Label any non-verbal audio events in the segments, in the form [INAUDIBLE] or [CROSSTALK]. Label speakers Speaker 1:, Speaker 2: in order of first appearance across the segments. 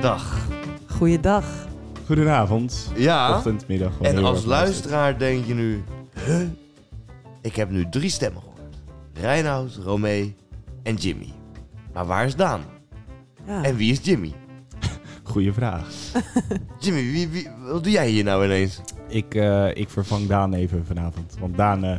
Speaker 1: Dag.
Speaker 2: Goeiedag.
Speaker 3: Goedenavond.
Speaker 1: Ja,
Speaker 3: Ochtend, middag. wat
Speaker 1: en
Speaker 3: heel
Speaker 1: als
Speaker 3: erg luistert.
Speaker 1: luisteraar denk je nu... Huh? Ik heb nu drie stemmen gehoord. Reinoud, Romee en Jimmy. Maar waar is Daan?
Speaker 2: Ja.
Speaker 1: En wie is Jimmy?
Speaker 3: Goeie vraag.
Speaker 1: Jimmy, wie, wie, wat doe jij hier nou ineens?
Speaker 3: Ik, eh, ik vervang Daan even vanavond. Want Daan, eh,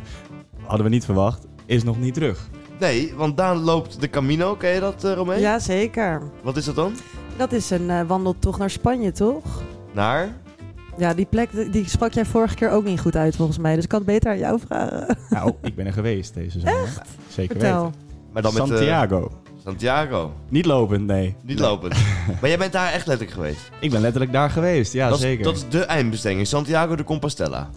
Speaker 3: hadden we niet verwacht, is nog
Speaker 1: [LAUGHS]
Speaker 3: niet terug.
Speaker 1: Nee, want Daan loopt de Camino. Ken je dat, eh, Romee?
Speaker 2: ja, zeker.
Speaker 1: Wat is dat dan?
Speaker 2: Dat is een eh, wandeltocht naar Spanje, toch?
Speaker 1: Naar?
Speaker 2: Ja, die plek die sprak jij vorige keer ook niet goed uit, volgens mij. Dus ik kan het beter aan jou vragen.
Speaker 3: Nou, ik ben er geweest deze zomer. Zeker
Speaker 2: Vertel.
Speaker 3: weten.
Speaker 1: Maar dan met, eh,
Speaker 3: Santiago.
Speaker 1: Santiago.
Speaker 3: Niet lopend, nee.
Speaker 1: Niet
Speaker 3: [LAUGHS]
Speaker 1: lopend. maar jij bent daar echt letterlijk geweest.
Speaker 3: Ik ben letterlijk daar geweest, ja
Speaker 1: dat, is-
Speaker 3: zeker.
Speaker 1: dat is de eindbestemming. Santiago de Compostela.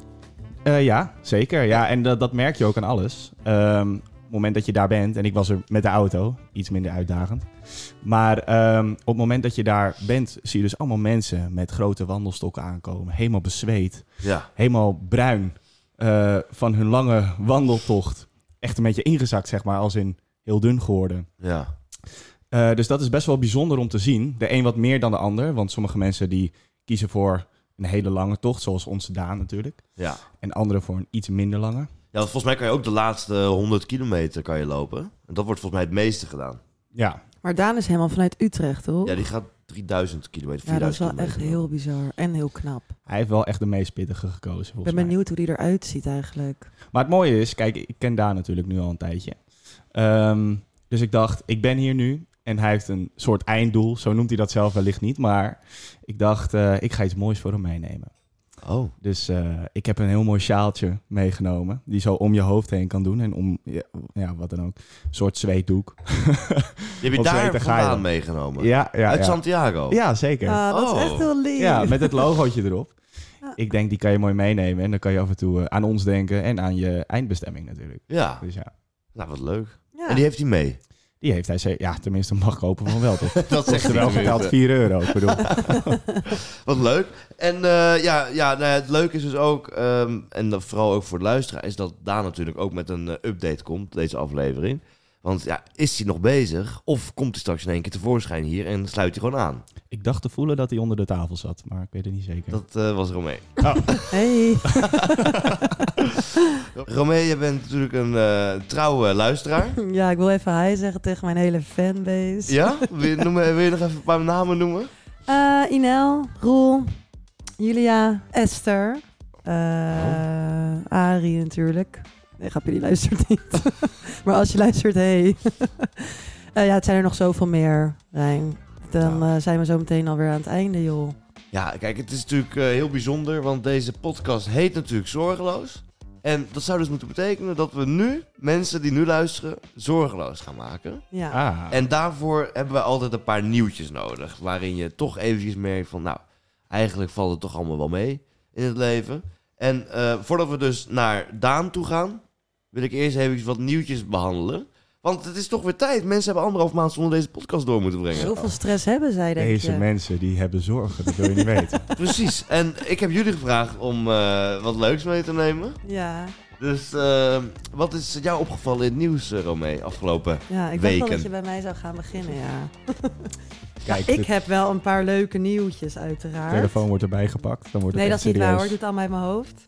Speaker 3: Eh, ja, zeker. Ja, en dat, dat merk je ook aan alles. Ehm, op het moment dat je daar bent, en ik was er met de auto, iets minder uitdagend. Maar ehm, op het moment dat je daar bent, zie je dus allemaal mensen met grote wandelstokken aankomen. Helemaal bezweet,
Speaker 1: Ja.
Speaker 3: helemaal bruin eh, van hun lange wandeltocht. Echt een beetje ingezakt, zeg maar, als in heel dun geworden.
Speaker 1: Ja.
Speaker 3: Eh, dus dat is best wel bijzonder om te zien. De een wat meer dan de ander, want sommige mensen die kiezen voor een hele lange tocht, zoals onze Daan natuurlijk.
Speaker 1: Ja.
Speaker 3: En anderen voor een iets minder lange.
Speaker 1: Ja, want volgens mij kan je ook de laatste 100 kilometer kan je lopen. En dat wordt volgens mij het meeste gedaan.
Speaker 3: Ja,
Speaker 2: Maar Daan is helemaal vanuit Utrecht, toch?
Speaker 1: Ja, die gaat 3000 kilometer,
Speaker 2: Ja, dat is
Speaker 1: 4000
Speaker 2: wel echt
Speaker 1: kilometer.
Speaker 2: heel bizar en heel knap.
Speaker 3: Hij heeft wel echt de meest pittige gekozen,
Speaker 2: Ik
Speaker 3: volgens
Speaker 2: ben
Speaker 3: mij.
Speaker 2: benieuwd hoe die eruit ziet eigenlijk.
Speaker 3: Maar het mooie is, kijk, ik ken Daan natuurlijk nu al een tijdje. Ehm, dus ik dacht, ik ben hier nu en hij heeft een soort einddoel. Zo noemt hij dat zelf wellicht niet, maar ik dacht, eh, ik ga iets moois voor hem meenemen.
Speaker 1: Oh,
Speaker 3: Dus eh, ik heb een heel mooi sjaaltje meegenomen, die zo om je hoofd heen kan doen en om, ja, ja, wat dan ook, een soort zweetdoek.
Speaker 1: je hebt je
Speaker 3: Op
Speaker 1: daar
Speaker 3: Zweden ga je
Speaker 1: vandaan
Speaker 3: dan.
Speaker 1: meegenomen.
Speaker 3: Ja, ja,
Speaker 1: Uit
Speaker 3: ja.
Speaker 1: Santiago.
Speaker 3: ja zeker.
Speaker 2: Ah, dat
Speaker 1: Oh.
Speaker 2: is echt heel lief.
Speaker 3: Ja, met het logootje erop.
Speaker 2: Ja.
Speaker 3: Ik denk, die kan je mooi meenemen. En dan kan je af en toe eh, aan ons denken en aan je eindbestemming natuurlijk.
Speaker 1: Ja.
Speaker 3: Dus ja,
Speaker 1: Nou, wat leuk.
Speaker 2: Ja.
Speaker 1: En die heeft hij
Speaker 2: [LAUGHS]
Speaker 1: mee.
Speaker 3: die heeft hij zeker... Ja, tenminste mag ik hopen van wel, toch?
Speaker 1: Dat zegt
Speaker 3: Kost er wel betaald 4 euro,
Speaker 1: [LAUGHS]
Speaker 3: ik bedoel.
Speaker 1: Wat leuk. En eh, ja, ja nou, ja, het leuke is dus ook, ehm, en dat vooral ook voor de luisteraar, is dat Daan natuurlijk ook met een eh, update komt, deze aflevering. Want ja, is hij nog bezig? Of komt hij straks in één keer tevoorschijn hier en sluit hij gewoon aan?
Speaker 3: Ik dacht te voelen dat hij onder de tafel zat, maar ik weet het niet zeker.
Speaker 1: Dat eh, was Romee.
Speaker 2: Hey. [LAUGHS]
Speaker 1: Romee, je bent natuurlijk een eh, trouwe luisteraar.
Speaker 2: Ja, ik wil even hi zeggen tegen mijn hele fanbase.
Speaker 1: Ja? Wil je, noemen, wil je nog even een paar namen noemen?
Speaker 2: Eh, Inel, Roel, Julia, Esther, eh Arie natuurlijk. Nee, grapje, die luistert niet. [LAUGHS] maar als je luistert, hey. [LAUGHS] Eh, ja, het zijn er nog zoveel meer, Rijn. Dan
Speaker 3: Nou.
Speaker 2: eh, zijn we zo meteen alweer aan het einde, joh.
Speaker 1: Ja, kijk, het is natuurlijk eh, heel bijzonder, want deze podcast heet natuurlijk Zorgeloos. En dat zou dus moeten betekenen dat we nu mensen die nu luisteren zorgeloos gaan maken.
Speaker 2: Ja,
Speaker 3: Ah,
Speaker 1: En daarvoor hebben we altijd een paar nieuwtjes nodig. Waarin je toch eventjes merkt van, nou, eigenlijk valt het toch allemaal wel mee in het leven. En eh, voordat we dus naar Daan toe gaan, wil ik eerst even wat nieuwtjes behandelen. Want het is toch weer tijd. Mensen hebben anderhalf maand zonder deze podcast door moeten brengen.
Speaker 2: zoveel stress hebben zij, denk
Speaker 3: deze
Speaker 2: je.
Speaker 3: mensen die hebben zorgen, dat
Speaker 2: [LAUGHS]
Speaker 3: wil je niet weten.
Speaker 1: Precies. En ik heb jullie gevraagd om eh, wat leuks mee te nemen.
Speaker 2: Ja,
Speaker 1: Dus eh, wat is jou opgevallen in het nieuws, eh, Romee, afgelopen?
Speaker 2: ja, ik dacht
Speaker 1: Weken.
Speaker 2: wel dat je bij mij zou gaan beginnen, ja.
Speaker 3: Kijk,
Speaker 2: Ik
Speaker 3: de
Speaker 2: heb wel een paar leuke nieuwtjes, uiteraard.
Speaker 3: telefoon wordt erbij gepakt, dan wordt het
Speaker 2: Nee, dat
Speaker 3: echt
Speaker 2: is niet waar hoor. Ik
Speaker 3: serieus.
Speaker 2: doe het allemaal uit mijn hoofd. [LAUGHS]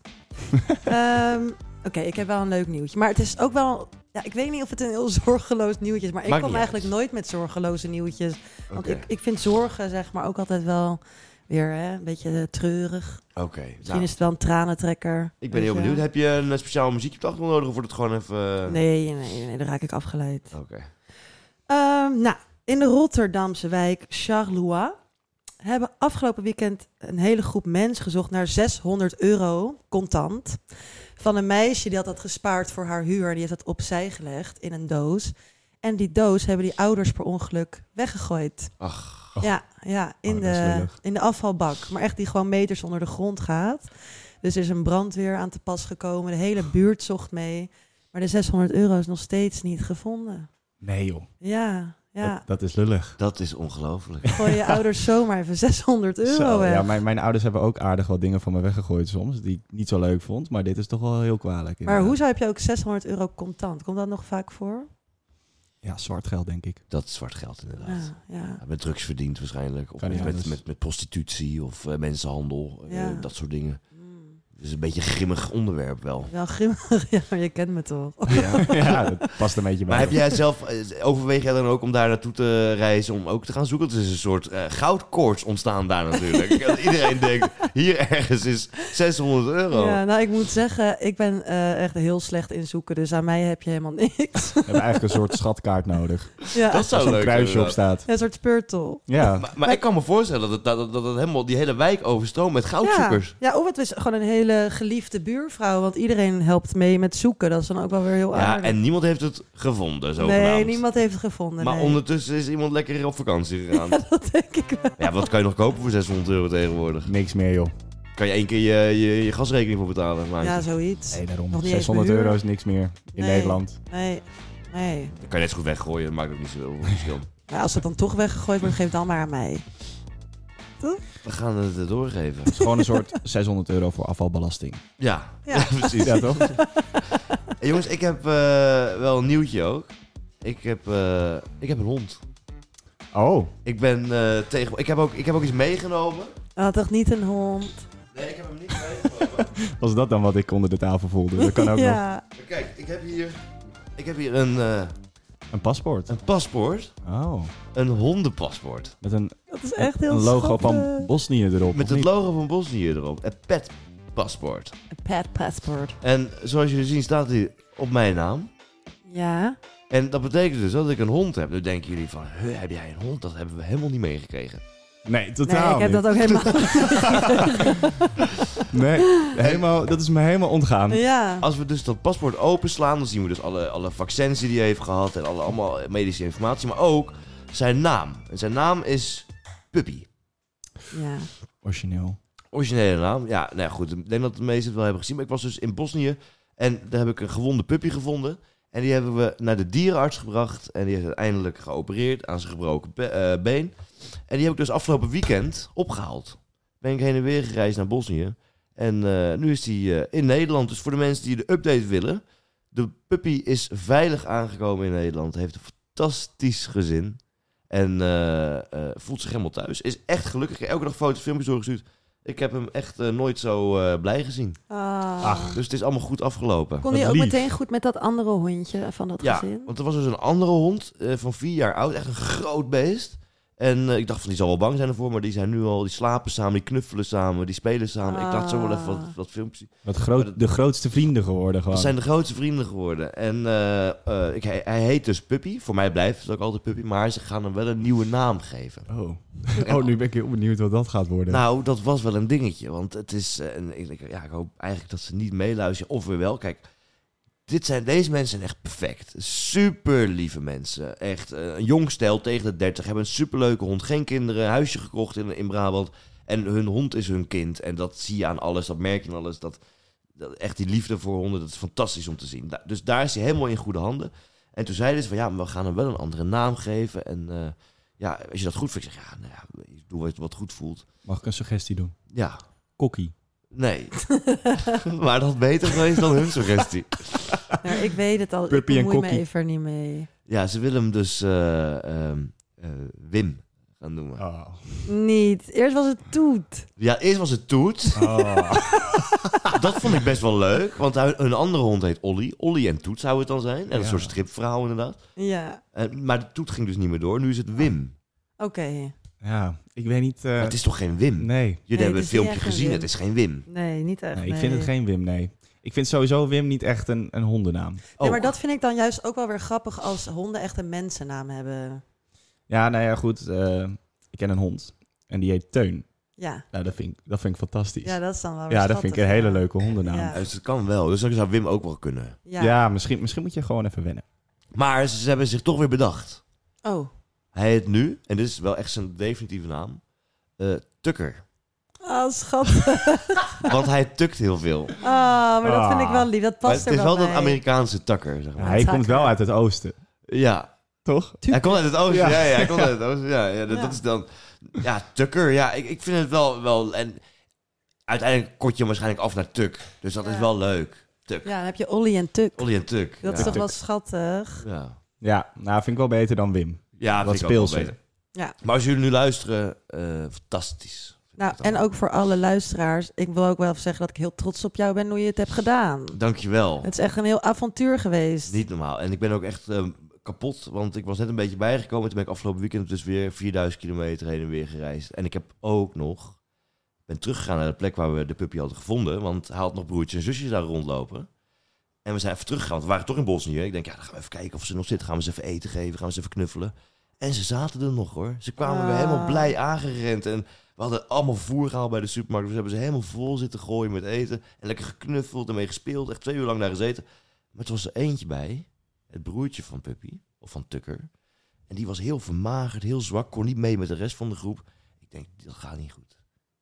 Speaker 2: Ehm, Oké, ik heb wel een leuk nieuwtje. Maar het is ook wel... Ja, ik weet niet of het een heel [LAUGHS] zorgeloos nieuwtje is. Maar ik
Speaker 1: Maakt
Speaker 2: kom
Speaker 1: niet uit.
Speaker 2: eigenlijk nooit met zorgeloze nieuwtjes. Want
Speaker 1: Oké.
Speaker 2: ik, ik vind zorgen zeg maar ook altijd wel weer hè, een beetje eh, treurig. Misschien
Speaker 1: Oké. Nou,
Speaker 2: is het wel een tranentrekker.
Speaker 1: ik ben
Speaker 2: weet
Speaker 1: heel
Speaker 2: je.
Speaker 1: benieuwd. Heb je een eh, speciaal muziekje op de achtergrond nodig of wordt het gewoon even...
Speaker 2: Nee, nee, nee, dan raak ik afgeleid.
Speaker 1: Oké.
Speaker 2: Ehm, nou, in de Rotterdamse wijk Charleroi hebben afgelopen weekend een hele groep mensen gezocht naar 600 euro contant. Van een meisje die had dat gespaard voor haar huur. Die heeft dat opzij gelegd in een doos. En die doos hebben die ouders per ongeluk weggegooid.
Speaker 1: Ach.
Speaker 2: Ja, ja in,
Speaker 3: Oh, dat is
Speaker 2: de,
Speaker 3: lullig.
Speaker 2: in de afvalbak. Maar echt die gewoon meters onder de grond gaat. Dus er is een brandweer aan te pas gekomen. De hele buurt zocht mee. Maar de 600 euro is nog steeds niet gevonden.
Speaker 3: Nee joh,
Speaker 2: Ja, ja.
Speaker 3: dat, dat is lullig.
Speaker 1: Dat is
Speaker 2: [LAUGHS]
Speaker 1: ongelooflijk.
Speaker 2: Gooi
Speaker 1: [LAUGHS]
Speaker 2: je ouders zomaar even 600 euro
Speaker 3: Zo,
Speaker 2: weg.
Speaker 3: ja, mijn, mijn ouders hebben ook aardig wat dingen van me weggegooid soms, die ik niet zo leuk vond. Maar dit is toch wel heel kwalijk.
Speaker 2: Maar
Speaker 3: inderdaad.
Speaker 2: hoezo heb je ook 600 euro contant? Komt dat nog vaak voor?
Speaker 3: Ja, zwart geld, denk ik.
Speaker 1: Dat is zwart geld inderdaad.
Speaker 2: Ja, ja.
Speaker 1: Ja, Met drugs verdiend waarschijnlijk. Of
Speaker 3: Kan niet
Speaker 1: met, met,
Speaker 3: anders.
Speaker 1: met, prostitutie of eh, mensenhandel. eh,
Speaker 2: Ja.
Speaker 1: dat soort dingen.
Speaker 2: Mm.
Speaker 1: Het is een beetje een grimmig onderwerp wel.
Speaker 2: Wel grimmig, [LAUGHS] ja, maar je kent me toch.
Speaker 3: Ja, [LAUGHS] dat past een beetje bij.
Speaker 2: [LAUGHS]
Speaker 1: Maar heb jij zelf, eh, overweeg jij dan ook om daar naartoe te reizen om ook te gaan zoeken? Het is een soort eh goudkoorts ontstaan daar
Speaker 2: [LAUGHS]
Speaker 1: natuurlijk. Dat Iedereen denkt, hier ergens is 600 euro.
Speaker 2: Ja, nou, ik moet zeggen, ik ben eh, echt heel slecht in zoeken, dus aan mij heb je helemaal [LAUGHS] niks.
Speaker 3: We hebben eigenlijk een soort schatkaart nodig.
Speaker 2: ja,
Speaker 1: [LAUGHS] Dat
Speaker 3: Waar
Speaker 1: zou
Speaker 3: zo'n
Speaker 1: Oh, leuk
Speaker 3: kruisje op
Speaker 1: inderdaad.
Speaker 3: staat.
Speaker 2: een soort spurtel.
Speaker 3: Ja,
Speaker 1: Maar, maar ik kan me voorstellen dat, het, dat, dat het helemaal die hele wijk overstroomt met
Speaker 2: Ja,
Speaker 1: goudzoekers.
Speaker 2: ja, of het is gewoon een hele geliefde buurvrouw, want iedereen helpt mee met zoeken. Dat is dan ook wel weer heel
Speaker 1: Ja,
Speaker 2: aardig.
Speaker 1: en niemand heeft het gevonden zogenaamd.
Speaker 2: nee, niemand heeft het gevonden.
Speaker 1: Maar
Speaker 2: nee.
Speaker 1: ondertussen is iemand lekker op vakantie
Speaker 2: [LAUGHS]
Speaker 1: gegaan. Ja.
Speaker 2: Dat [LAUGHS] denk ik wel.
Speaker 1: wat kan je nog kopen voor 600 euro tegenwoordig?
Speaker 3: niks meer joh.
Speaker 1: Kan je één keer je, je, je gasrekening voor betalen? Maar
Speaker 2: Ja, zoiets.
Speaker 3: Nee, daarom.
Speaker 2: Nog niet eens
Speaker 3: 600
Speaker 2: behuurd.
Speaker 3: euro is niks meer in
Speaker 2: Nee. [LAUGHS]
Speaker 3: Nederland.
Speaker 2: Nee, nee.
Speaker 1: Dan kan je net zo goed weggooien, dat maakt ook niet zoveel verschil.
Speaker 2: Maar als het dan toch weggegooid wordt, geef het dan maar aan mij.
Speaker 1: [LAUGHS] We gaan het eh, doorgeven.
Speaker 3: Het is gewoon een soort 600 euro voor afvalbelasting.
Speaker 1: Ja,
Speaker 2: Ja.
Speaker 1: [LAUGHS] precies.
Speaker 3: Ja, toch?
Speaker 1: Hey, jongens, ik heb eh, wel een nieuwtje ook. Ik heb, eh, ik heb een hond.
Speaker 3: Oh,
Speaker 1: Ik ben eh, tegen... Ik heb, ook, ik heb ook iets meegenomen.
Speaker 2: Hij had toch niet een hond?
Speaker 1: Nee, ik heb hem niet [LAUGHS] meegenomen.
Speaker 3: was dat dan wat ik onder de tafel voelde? Dat kan
Speaker 2: [LAUGHS]
Speaker 3: ook nog.
Speaker 2: ja.
Speaker 1: Maar kijk, ik heb hier... Ik heb hier een, eh,
Speaker 3: Een paspoort.
Speaker 1: een paspoort.
Speaker 3: Oh,
Speaker 1: Een hondenpaspoort.
Speaker 3: met een,
Speaker 2: Dat is echt heel
Speaker 3: een logo
Speaker 2: schattig. eh,
Speaker 3: van Bosnië erop.
Speaker 1: Met
Speaker 3: of
Speaker 1: het
Speaker 3: niet?
Speaker 1: logo van Bosnië erop. Een petpaspoort.
Speaker 2: Een pet passport.
Speaker 1: En zoals jullie zien staat hij op mijn naam.
Speaker 2: Ja.
Speaker 1: En dat betekent dus dat ik een hond heb. Nu denken jullie van, "Huh, heb jij een hond? Dat hebben we helemaal niet meegekregen.
Speaker 3: Nee,
Speaker 2: Nee,
Speaker 3: totaal
Speaker 2: ik heb
Speaker 3: niet.
Speaker 2: dat ook
Speaker 3: [LAUGHS]
Speaker 2: helemaal. [LAUGHS]
Speaker 3: Nee, helemaal, dat is me helemaal ontgaan.
Speaker 2: ja.
Speaker 1: Als we dus dat paspoort openslaan, dan zien we dus alle, alle vaccins die hij heeft gehad en alle, allemaal medische informatie. Maar ook zijn naam. En zijn naam is Puppy.
Speaker 2: ja.
Speaker 3: Origineel.
Speaker 1: Originele naam. Ja, nou ja, goed. Ik denk dat de meesten het wel hebben gezien. Maar ik was dus in Bosnië en daar heb ik een gewonde puppy gevonden. En die hebben we naar de dierenarts gebracht. En die is uiteindelijk geopereerd aan zijn gebroken be- eh, been. En die heb ik dus afgelopen weekend opgehaald. Ben ik heen en weer gereisd naar Bosnië. En eh, nu is die eh, in Nederland. Dus voor de mensen die de update willen. De puppy is veilig aangekomen in Nederland. Heeft een fantastisch gezin. En eh, eh, voelt zich helemaal thuis. Is echt gelukkig. Ik heb Elke dag foto's, filmpjes doorgestuurd. Ik heb hem echt eh, nooit zo eh, blij gezien.
Speaker 2: Ah.
Speaker 3: Ach.
Speaker 1: Dus het is allemaal goed afgelopen.
Speaker 2: Kon hij
Speaker 3: Wat
Speaker 2: ook
Speaker 3: lief.
Speaker 2: meteen goed met dat andere hondje van dat
Speaker 1: Ja,
Speaker 2: gezin?
Speaker 1: want er was dus een andere hond eh, van vier jaar oud. Echt een groot beest. En eh, ik dacht van, die zal wel bang zijn ervoor. Maar die zijn nu al, die slapen samen, die knuffelen samen, die spelen samen. Ik dacht zo wel even wat, wat filmpjes zien.
Speaker 3: Wat groot, de grootste vrienden geworden gewoon.
Speaker 1: Dat zijn de grootste vrienden geworden. En eh, eh, ik, hij, hij heet dus Puppy. Voor mij blijft het ook altijd Puppy. Maar ze gaan hem wel een nieuwe naam geven.
Speaker 3: Oh. oh, nu ben ik heel benieuwd wat dat gaat worden.
Speaker 1: Nou, dat was wel een dingetje. Want het is. eh, een, ik, ik- ja, ik hoop eigenlijk dat ze niet meeluisteren. Of weer wel. Kijk, dit zijn, deze mensen zijn echt perfect. Super lieve mensen. Echt eh, een jong stel tegen de 30. Hebben een superleuke hond. Geen kinderen. Een huisje gekocht in, in Brabant. En hun hond is hun kind. En dat zie je aan alles. Dat merk je aan alles. Dat, dat, echt die liefde voor honden. Dat is fantastisch om te zien. Da- dus daar is hij helemaal in goede handen. En toen zeiden ze van ja, maar we gaan hem wel een andere naam geven. En eh, ja, als je dat goed vindt, ik zeg ja, nou ja, doe wat- wat goed voelt.
Speaker 3: Mag ik een suggestie doen?
Speaker 1: Ja,
Speaker 3: Kokkie.
Speaker 1: nee. [LAUGHS] maar dat beter geweest dan hun suggestie.
Speaker 2: Nou, ik weet het al. Ik
Speaker 3: Puppy en
Speaker 2: bemoei me
Speaker 3: kokkie.
Speaker 2: even niet mee.
Speaker 1: Ja, ze willen hem dus eh, ehm, eh, Wim gaan noemen.
Speaker 3: Oh.
Speaker 2: Niet. Eerst was het Toet.
Speaker 1: Ja, eerst was het Toet.
Speaker 3: Oh.
Speaker 1: Dat vond ik best wel leuk, want hu- hun andere hond heet Olly. Olly en Toet zou het dan zijn. En een
Speaker 3: Ja.
Speaker 1: soort stripverhaal inderdaad.
Speaker 2: Ja.
Speaker 1: En, maar de Toet ging dus niet meer door, nu is het Wim.
Speaker 2: Oké.
Speaker 3: [LAUGHS] Ja, ik weet niet... eh,
Speaker 1: Maar het is toch geen Wim?
Speaker 3: Nee.
Speaker 1: Jullie
Speaker 2: Nee,
Speaker 1: hebben
Speaker 2: het
Speaker 1: het
Speaker 2: is niet
Speaker 1: filmpje
Speaker 2: echt een
Speaker 1: gezien,
Speaker 2: Wim.
Speaker 1: het is geen Wim.
Speaker 2: Nee, niet echt.
Speaker 3: nee, ik vind het geen Wim, nee. Ik vind sowieso Wim niet echt een, een hondennaam.
Speaker 2: Nee,
Speaker 1: Oh.
Speaker 2: maar dat vind ik dan juist ook wel weer grappig als honden echt een mensennaam hebben.
Speaker 3: Ja, nou ja, goed. eh, ik ken een hond. En die heet Teun.
Speaker 2: Ja.
Speaker 3: Nou, dat vind ik, dat vind ik fantastisch.
Speaker 2: Ja,
Speaker 3: Ja,
Speaker 2: dat is dan wel weer
Speaker 3: dat
Speaker 2: schattig,
Speaker 3: vind ik een hele leuke hondennaam.
Speaker 2: Ja.
Speaker 3: Ja,
Speaker 1: Dus het kan wel, dus dan zou Wim ook wel kunnen.
Speaker 2: Ja.
Speaker 3: misschien, misschien moet je gewoon even wennen.
Speaker 1: Maar ze ze hebben zich toch weer bedacht.
Speaker 2: Oh.
Speaker 1: Hij heet nu, en dit is wel echt zijn definitieve naam, eh, Tukker.
Speaker 2: Ah, schattig.
Speaker 1: Want hij tukt heel veel. Maar
Speaker 2: Ah, maar dat
Speaker 3: Ah.
Speaker 2: vind ik wel lief. Dat past
Speaker 1: het is
Speaker 2: er
Speaker 1: wel
Speaker 2: bij.
Speaker 1: een Amerikaanse takker, zeg
Speaker 3: Ja,
Speaker 1: maar.
Speaker 3: hij komt wel uit het oosten,
Speaker 1: Ja,
Speaker 3: toch?
Speaker 1: hij komt uit het oosten. Ja,
Speaker 3: Ja.
Speaker 1: ja, hij komt uit het oosten. Ja, ja, dat,
Speaker 2: Ja.
Speaker 1: dat is dan... Ja, tukker. Ja, ik, ik vind het wel... wel en uiteindelijk kort je hem waarschijnlijk af naar tuk. Dus dat
Speaker 2: Ja.
Speaker 1: is wel leuk. Tuk.
Speaker 2: Ja, dan heb je Olly en Tuk.
Speaker 1: Olly en tuk.
Speaker 2: Dat
Speaker 1: ja.
Speaker 2: is toch
Speaker 3: Tuk.
Speaker 2: wel schattig?
Speaker 1: Ja.
Speaker 3: Ja, nou vind ik wel beter dan Wim.
Speaker 1: Ja,
Speaker 3: Wat
Speaker 1: vind ik ook wel
Speaker 3: speelser.
Speaker 1: beter.
Speaker 2: Ja.
Speaker 1: Maar als jullie nu luisteren, eh, fantastisch.
Speaker 2: Nou, en ook voor alle luisteraars. Ik wil ook wel even zeggen dat ik heel trots op jou ben hoe je het hebt gedaan.
Speaker 1: Dankjewel.
Speaker 2: Het is echt een heel avontuur geweest.
Speaker 1: Niet normaal. En ik ben ook echt eh, kapot, want ik was net een beetje bijgekomen. Toen ben ik afgelopen weekend dus weer 4000 kilometer heen en weer gereisd. En ik heb ook nog... ben teruggegaan naar de plek waar we de puppy hadden gevonden. Want hij had nog broertjes en zusjes daar rondlopen. En we zijn even teruggegaan, want we waren toch in Bosnië. Ik denk, ja, dan gaan we even kijken of ze nog zit. Gaan we ze even eten geven, gaan we ze even knuffelen. En ze zaten er nog, hoor. Ze kwamen weer
Speaker 2: Ah.
Speaker 1: helemaal blij aangerend. En we hadden allemaal voer gehaald bij de supermarkt. Dus we hebben ze helemaal vol zitten gooien met eten. En lekker geknuffeld en mee gespeeld. Echt twee uur lang daar gezeten. Maar er was er eentje bij, het broertje van Puppy, of van Tucker. En die was heel vermagerd, heel zwak, kon niet mee met de rest van de groep. Ik denk, dat gaat niet goed.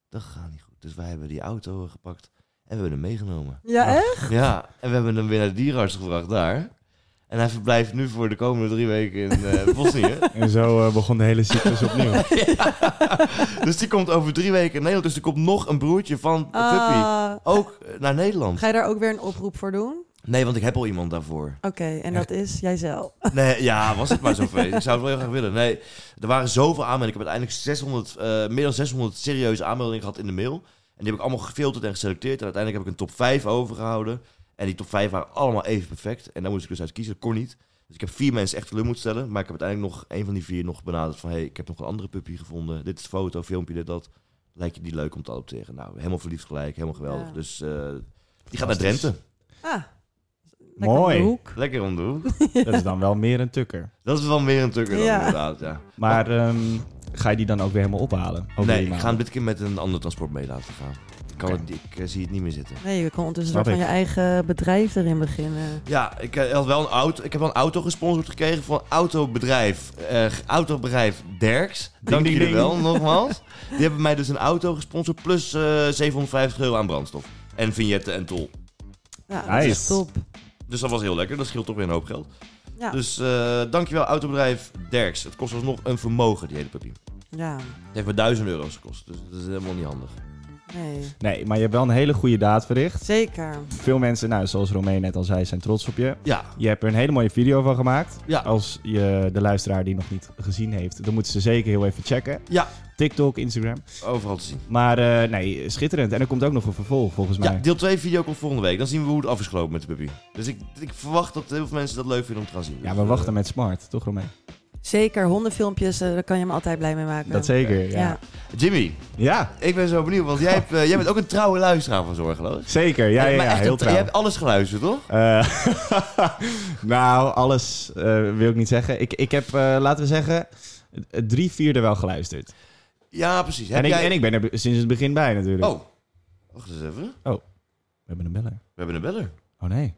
Speaker 1: Dat gaat niet goed. Dus wij hebben die auto gepakt en we hebben hem meegenomen.
Speaker 2: Ja, echt?
Speaker 1: Ja, en we hebben hem weer naar de dierenarts gebracht daar. En hij verblijft nu voor de komende drie weken in eh, Bosnië.
Speaker 3: En zo eh, begon de hele cyclus
Speaker 2: [LAUGHS]
Speaker 3: opnieuw.
Speaker 1: dus die komt over drie weken in Nederland. Dus er komt nog een broertje van eh, Puppy.
Speaker 2: Ah,
Speaker 1: Ook eh, naar Nederland.
Speaker 2: Ga je daar ook weer een oproep voor doen?
Speaker 1: Nee, want ik heb al iemand daarvoor.
Speaker 2: Oké, en dat is jijzelf.
Speaker 1: Nee, ja, was het maar zo feest. Ik zou het wel heel graag willen. Nee, er waren zoveel aanmeldingen. Ik heb uiteindelijk 600, eh, meer dan 600 serieuze aanmeldingen gehad in de mail. En die heb ik allemaal gefilterd en geselecteerd. En uiteindelijk heb ik een top 5 overgehouden. En die top 5 waren allemaal even perfect. En daar moest ik dus uit kiezen. Dat kon niet. Dus ik heb vier mensen echt teleur moeten stellen. Maar ik heb uiteindelijk nog een van die vier nog benaderd van... hey, ik heb nog een andere puppy gevonden. Dit is de foto, filmpje, dit, dat. Lijkt je die leuk om te adopteren? Nou, helemaal verliefd gelijk. Helemaal geweldig.
Speaker 2: Ja.
Speaker 1: Dus eh, die gaat naar Drenthe.
Speaker 2: Ah, lekker om
Speaker 3: Mooi.
Speaker 2: de hoek.
Speaker 1: Lekker om de hoek.
Speaker 3: Dat is dan wel meer een tukker.
Speaker 1: Dat is wel meer een tukker dan
Speaker 2: Ja.
Speaker 1: inderdaad, ja.
Speaker 3: Maar ehm, ga je die dan ook weer helemaal ophalen? Over
Speaker 1: nee,
Speaker 3: drie
Speaker 1: ik ga hem
Speaker 3: maanden?
Speaker 1: dit keer met een ander transport mee laten gaan. Ik, kan
Speaker 3: Oh, Oké.
Speaker 1: het, ik eh, zie het niet meer zitten.
Speaker 2: Nee, je kon ondertussen
Speaker 3: Snap
Speaker 2: soort van
Speaker 3: ik.
Speaker 2: je eigen bedrijf erin beginnen.
Speaker 1: Ja, ik, eh, had wel een auto, ik heb wel een auto gesponsord gekregen van autobedrijf, eh, autobedrijf Derks. Dank
Speaker 3: ding,
Speaker 1: jullie
Speaker 3: ding.
Speaker 1: wel, nogmaals. Die hebben mij dus een auto gesponsord plus eh, 750 euro aan brandstof. En vignetten en tol.
Speaker 2: Ja, dat is
Speaker 3: Nice.
Speaker 2: echt top. Dus
Speaker 1: Dus dat was heel lekker. Dat scheelt toch weer een hoop geld.
Speaker 2: Ja.
Speaker 1: Dus eh, dankjewel autobedrijf Derks. Het kost alsnog een vermogen, die hele papier.
Speaker 2: ja,
Speaker 1: Het heeft me 1000 euro's gekost. Dus dat is helemaal niet handig.
Speaker 2: nee.
Speaker 3: Nee, maar je hebt wel een hele goede daad verricht.
Speaker 2: Zeker.
Speaker 3: Veel mensen, nou, zoals Romein net al zei, zijn trots op je.
Speaker 1: Ja,
Speaker 3: Je hebt er een hele mooie video van gemaakt.
Speaker 1: Ja.
Speaker 3: Als je de luisteraar die nog niet gezien heeft, dan moeten ze zeker heel even checken.
Speaker 1: Ja.
Speaker 3: TikTok, Instagram.
Speaker 1: overal te zien.
Speaker 3: Maar eh, nee, schitterend. En er komt ook nog een vervolg volgens mij.
Speaker 1: Ja, deel 2 video komt volgende week. Dan zien we hoe het af is gelopen met de puppy. Dus ik, ik verwacht dat heel veel mensen dat leuk vinden om te gaan zien.
Speaker 3: Ja,
Speaker 1: Dus,
Speaker 3: we
Speaker 1: eh,
Speaker 3: wachten met Smart, toch Romein?
Speaker 2: Zeker, hondenfilmpjes, eh, daar kan je me altijd blij mee maken.
Speaker 3: Dat zeker, ja. ja.
Speaker 1: eh, Jimmy, ik ben zo benieuwd, want jij, hebt, eh, jij bent ook een trouwe luisteraar van Zorgeloos.
Speaker 3: zeker. Ja, ja,
Speaker 1: Maar
Speaker 3: ja,
Speaker 1: echt
Speaker 3: heel
Speaker 1: een-
Speaker 3: trouw.
Speaker 1: Je hebt alles geluisterd, toch?
Speaker 3: Eh, [LAUGHS] nou, alles eh, wil ik niet zeggen. Ik, ik heb, eh, laten we zeggen, eh, drie vierde wel geluisterd.
Speaker 1: Ja, precies. Heb
Speaker 3: En ik,
Speaker 1: jij...
Speaker 3: en ik ben er sinds het begin bij natuurlijk.
Speaker 1: Oh, wacht eens even.
Speaker 3: We hebben een beller.
Speaker 1: We hebben een beller.
Speaker 3: Oh nee.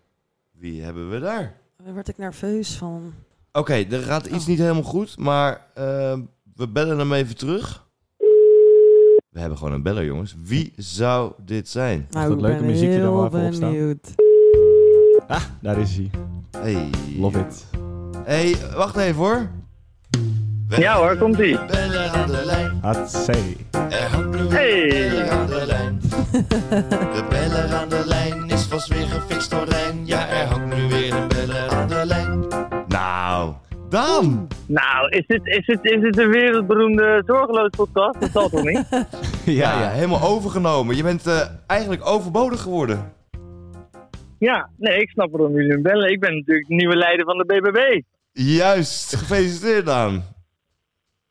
Speaker 1: Wie hebben we daar?
Speaker 2: Daar word ik nerveus van.
Speaker 1: Oké, er gaat iets
Speaker 2: Oh.
Speaker 1: niet helemaal goed, maar eh, we bellen hem even terug. We hebben gewoon een beller, jongens. Wie zou dit zijn?
Speaker 2: Nou,
Speaker 3: dat
Speaker 2: ik
Speaker 3: leuke
Speaker 2: ben
Speaker 3: muziekje er wel
Speaker 2: heel
Speaker 3: even op staan?
Speaker 2: benieuwd.
Speaker 3: Daar is hij.
Speaker 1: Hey.
Speaker 3: Love it.
Speaker 1: Hé, hey, wacht even hoor.
Speaker 4: Ja hoor, komt ie.
Speaker 1: Beller aan de lijn.
Speaker 3: HC.
Speaker 1: Er hangt nu een
Speaker 4: Hey.
Speaker 1: beller aan de lijn. De beller aan de lijn is vast weer gefixt door Rijn. Ja, er hangt nu weer een beller aan de lijn. Nou, dan.
Speaker 4: Nou, is dit, is dit, is dit de wereldberoemde zorgeloos podcast? Dat zal toch niet?
Speaker 1: [LAUGHS]
Speaker 3: [LAUGHS]
Speaker 1: Ja, ja, helemaal overgenomen. Je bent eh, eigenlijk overbodig geworden.
Speaker 4: Ja, nee, ik snap waarom jullie hem bellen. Ik ben natuurlijk de nieuwe leider van de BBB.
Speaker 1: Juist, gefeliciteerd dan.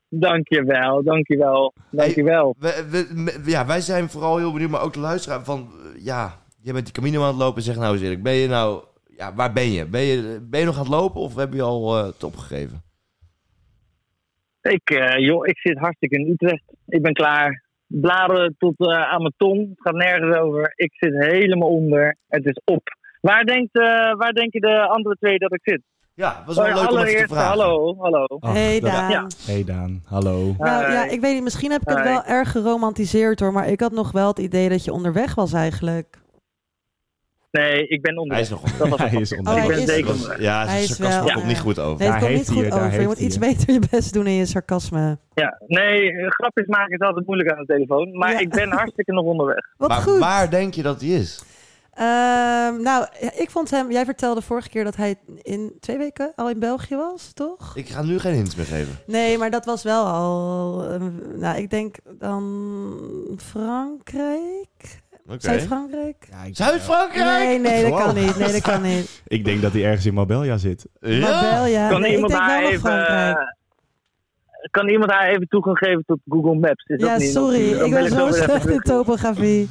Speaker 4: Dankjewel, dankjewel, dankjewel.
Speaker 1: We, we- me- ja, wij zijn vooral heel benieuwd, maar ook de luisteraar van... eh, Ja, je bent die Camino aan het lopen. Zeg nou eens eerlijk, ben je nou... Ja, waar ben je? Ben je, ben je nog aan het lopen of heb je al eh het opgegeven?
Speaker 4: Ik, eh, joh, ik zit hartstikke in Utrecht. Ik ben klaar. Bladeren tot eh, aan mijn tong. Het gaat nergens over. Ik zit helemaal onder. Het is op. Waar, denkt, eh, waar denken de andere twee dat ik zit?
Speaker 1: Ja, was wel leuk
Speaker 4: Eh,
Speaker 1: om even te
Speaker 4: Allereerst,
Speaker 1: vragen.
Speaker 4: hallo, hallo.
Speaker 3: Ach,
Speaker 2: hey
Speaker 3: dat-
Speaker 2: Daan.
Speaker 4: Ja.
Speaker 3: Hey Daan, hallo.
Speaker 2: Nou
Speaker 4: Hi.
Speaker 2: ja, ik weet niet, misschien heb ik het
Speaker 4: Hi.
Speaker 2: wel erg geromantiseerd hoor, maar ik had nog wel het idee dat je onderweg was eigenlijk.
Speaker 4: Nee, ik ben onder.
Speaker 1: Hij is nog
Speaker 4: Dat was
Speaker 3: Hij
Speaker 4: een
Speaker 3: is
Speaker 4: grapje.
Speaker 3: onder.
Speaker 2: Oh,
Speaker 4: Ik
Speaker 2: hij
Speaker 4: ben
Speaker 2: is-
Speaker 4: zeker
Speaker 1: Dat-
Speaker 4: onder.
Speaker 1: Ja,
Speaker 2: Hij is
Speaker 1: sarcasme
Speaker 2: wel,
Speaker 1: komt
Speaker 2: ja.
Speaker 1: niet goed over.
Speaker 2: Nee, het komt
Speaker 3: Daar
Speaker 2: niet
Speaker 3: heeft hij
Speaker 2: goed
Speaker 3: je, daar
Speaker 2: over. Je
Speaker 3: heeft
Speaker 2: moet
Speaker 3: hij
Speaker 2: iets
Speaker 3: je.
Speaker 2: beter je best doen in je sarcasme.
Speaker 4: Ja, nee, eh, grapjes maken is altijd moeilijk aan de telefoon. Maar
Speaker 2: Ja.
Speaker 4: ik ben hartstikke nog onderweg.
Speaker 2: Wat
Speaker 1: maar
Speaker 2: goed.
Speaker 1: waar denk je dat hij is?
Speaker 2: Ehm, nou, ik vond hem... Jij vertelde vorige keer dat hij in twee weken al in België was, toch?
Speaker 1: Ik ga nu geen hints meer geven.
Speaker 2: Nee, maar dat was wel al... ehm, nou, ik denk dan Frankrijk?
Speaker 1: Oké.
Speaker 2: Zuid-Frankrijk?
Speaker 3: Ja, ik,
Speaker 1: Zuid-Frankrijk?
Speaker 2: Nee, nee, dat
Speaker 3: Wow.
Speaker 2: kan niet. Nee, dat kan
Speaker 3: [LAUGHS]
Speaker 2: niet.
Speaker 3: ik denk dat hij ergens in Marbella zit.
Speaker 2: Maar
Speaker 1: Ja?
Speaker 2: wel, ja.
Speaker 4: kan,
Speaker 2: Nee, ik
Speaker 4: iemand
Speaker 2: denk
Speaker 4: haar
Speaker 2: wel nog
Speaker 4: even,
Speaker 2: Frankrijk.
Speaker 4: eh, kan iemand haar even toegang geven tot Google Maps? Is
Speaker 2: Ja,
Speaker 4: dat niet
Speaker 2: sorry.
Speaker 4: Dan
Speaker 2: Ik
Speaker 4: ben
Speaker 2: ben zo
Speaker 4: weer even
Speaker 2: slecht in
Speaker 4: terug.
Speaker 2: topografie.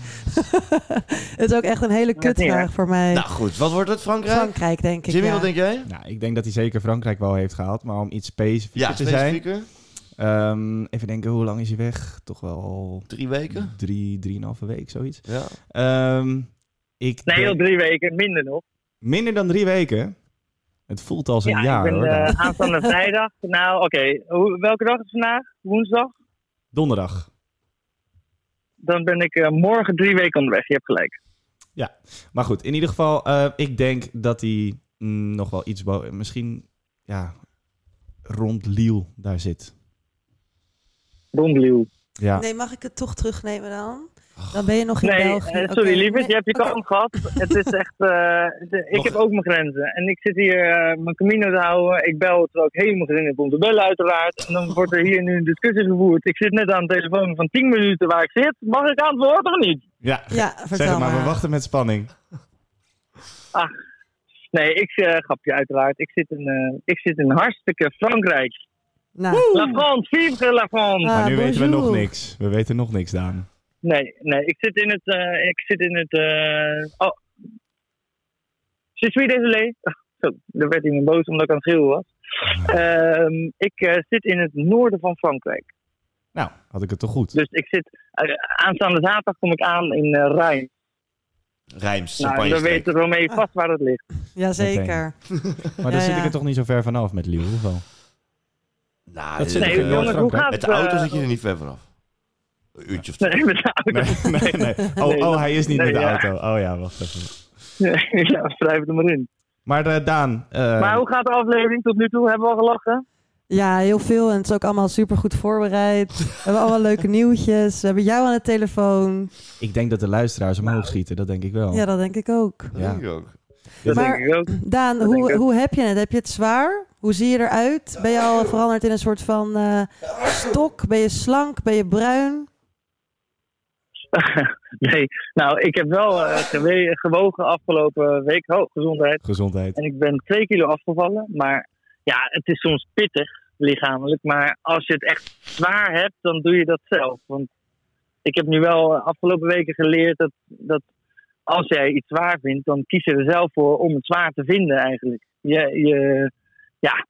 Speaker 2: [LAUGHS] Het is ook echt een hele
Speaker 4: Maakt niet
Speaker 2: kutvraag
Speaker 4: uit.
Speaker 2: voor mij.
Speaker 1: Nou goed, wat wordt het, Frankrijk?
Speaker 2: Frankrijk, denk ik.
Speaker 1: Jimmy,
Speaker 2: ja.
Speaker 1: wat denk jij?
Speaker 3: Nou, ik denk dat hij zeker Frankrijk wel heeft gehaald. Maar om iets specifieker
Speaker 1: Ja,
Speaker 3: te zijn.
Speaker 1: specifieker.
Speaker 3: ehm, even denken, hoe lang is hij weg? Toch wel
Speaker 1: Drie weken.
Speaker 3: drie, drieënhalve week, zoiets.
Speaker 1: Ja.
Speaker 3: Ehm, ik
Speaker 4: Nee,
Speaker 3: denk-
Speaker 4: joh, drie weken, minder nog.
Speaker 3: Minder dan drie weken. Het voelt als een
Speaker 4: Ja,
Speaker 3: jaar
Speaker 4: ik ben
Speaker 3: hoor.
Speaker 4: eh, aanstaande vrijdag. Nou, oké. Hoe- Welke dag is het vandaag? Woensdag?
Speaker 3: Donderdag.
Speaker 4: Dan ben ik eh, morgen drie weken onderweg. Je hebt gelijk.
Speaker 3: Maar goed, in ieder geval, eh, ik denk dat hij mm, nog wel iets, bo- misschien ja, rond Liel daar zit.
Speaker 4: Rondleeuw.
Speaker 3: Ja,
Speaker 2: Nee, mag ik het toch terugnemen dan? Dan ben je nog in
Speaker 4: Nee,
Speaker 2: België.
Speaker 4: eh,
Speaker 2: Oké.
Speaker 4: sorry lieverd,
Speaker 2: Nee,
Speaker 4: je hebt je
Speaker 2: oké.
Speaker 4: kans gehad. Het is echt, eh, de- ik
Speaker 1: Nog-
Speaker 4: heb ook mijn grenzen. En ik zit hier eh, mijn camino te houden. Ik bel terwijl ik helemaal geen zin heb om te bellen uiteraard. En dan wordt er hier nu een discussie gevoerd. Ik zit net aan de telefoon van 10 minuten waar ik zit. Mag ik antwoorden of niet?
Speaker 3: ja.
Speaker 2: Ja, vertel
Speaker 3: zeg het
Speaker 2: maar. Ah,
Speaker 3: maar, we wachten met spanning.
Speaker 4: Nee, ik eh grapje uiteraard. Ik zit in, eh, ik zit in hartstikke Frankrijk.
Speaker 2: Nou,
Speaker 4: La France, vive la France!
Speaker 2: Ah,
Speaker 3: maar nu weten we
Speaker 2: bonjour.
Speaker 3: nog niks. We weten nog niks, Daan.
Speaker 4: Nee, nee, ik zit in het, eh, ik zit in het, eh, oh. Je suis désolé. [LAUGHS] Zo, daar werd iemand boos omdat ik aan het schreeuwen was. Ehm, ik eh, zit in het noorden van Frankrijk.
Speaker 3: Nou, had ik het toch goed.
Speaker 4: Dus ik zit, eh, aanstaande zaterdag kom ik aan in eh Rijn.
Speaker 1: Rijms,
Speaker 4: Nou, dan
Speaker 1: champagne
Speaker 4: weet Romee vast waar dat ligt.
Speaker 2: jazeker.
Speaker 3: Maar
Speaker 2: Ja,
Speaker 3: dan zit
Speaker 2: ja.
Speaker 3: ik er toch niet zo ver vanaf met Liel, of wel?
Speaker 1: Nou,
Speaker 3: Dat
Speaker 1: eh,
Speaker 3: zit
Speaker 4: Nee,
Speaker 3: ik, eh,
Speaker 4: jongens, hoe
Speaker 3: Frankrijk.
Speaker 4: gaat
Speaker 1: met
Speaker 4: het?
Speaker 1: de auto
Speaker 4: eh,
Speaker 1: zit je er niet ver vanaf. Een uurtje of twee.
Speaker 4: [LAUGHS] [LAUGHS] Nee, met de auto.
Speaker 3: Nee, nee, nee. Oh,
Speaker 4: Nee,
Speaker 3: oh hij is niet
Speaker 4: nee,
Speaker 3: met de
Speaker 4: ja.
Speaker 3: auto. Oh ja, wacht even.
Speaker 4: [LAUGHS] ja, schrijf het er maar in.
Speaker 3: Maar eh, Daan, eh,
Speaker 4: Maar hoe gaat de aflevering tot nu toe? Hebben we al gelachen?
Speaker 2: Ja, heel veel. En het is ook allemaal supergoed voorbereid. We hebben allemaal leuke nieuwtjes. We hebben jou aan de telefoon.
Speaker 3: ik denk dat de luisteraars omhoog
Speaker 4: Nou.
Speaker 3: schieten. Dat denk ik wel.
Speaker 2: Ja, dat denk ik ook.
Speaker 1: Dat
Speaker 3: Ja.
Speaker 1: denk ik ook.
Speaker 4: Dat
Speaker 2: Maar-
Speaker 4: denk ik ook.
Speaker 2: Daan,
Speaker 4: Dat denk
Speaker 2: hoe,
Speaker 4: ik.
Speaker 2: hoe heb je het? Heb je het zwaar? Hoe zie je eruit? Ben je al veranderd in een soort van eh, stok? Ben je slank? Ben je bruin?
Speaker 4: [LAUGHS] Nee, nou, ik heb wel eh, gewe- gewogen afgelopen week. Oh, gezondheid.
Speaker 3: Gezondheid.
Speaker 4: En ik ben twee kilo afgevallen. Maar ja, het is soms pittig lichamelijk. Maar als je het echt zwaar hebt, dan doe je dat zelf. Want ik heb nu wel eh, afgelopen weken geleerd dat, dat als jij iets zwaar vindt, dan kies je er zelf voor om het zwaar te vinden eigenlijk. Je, je, ja,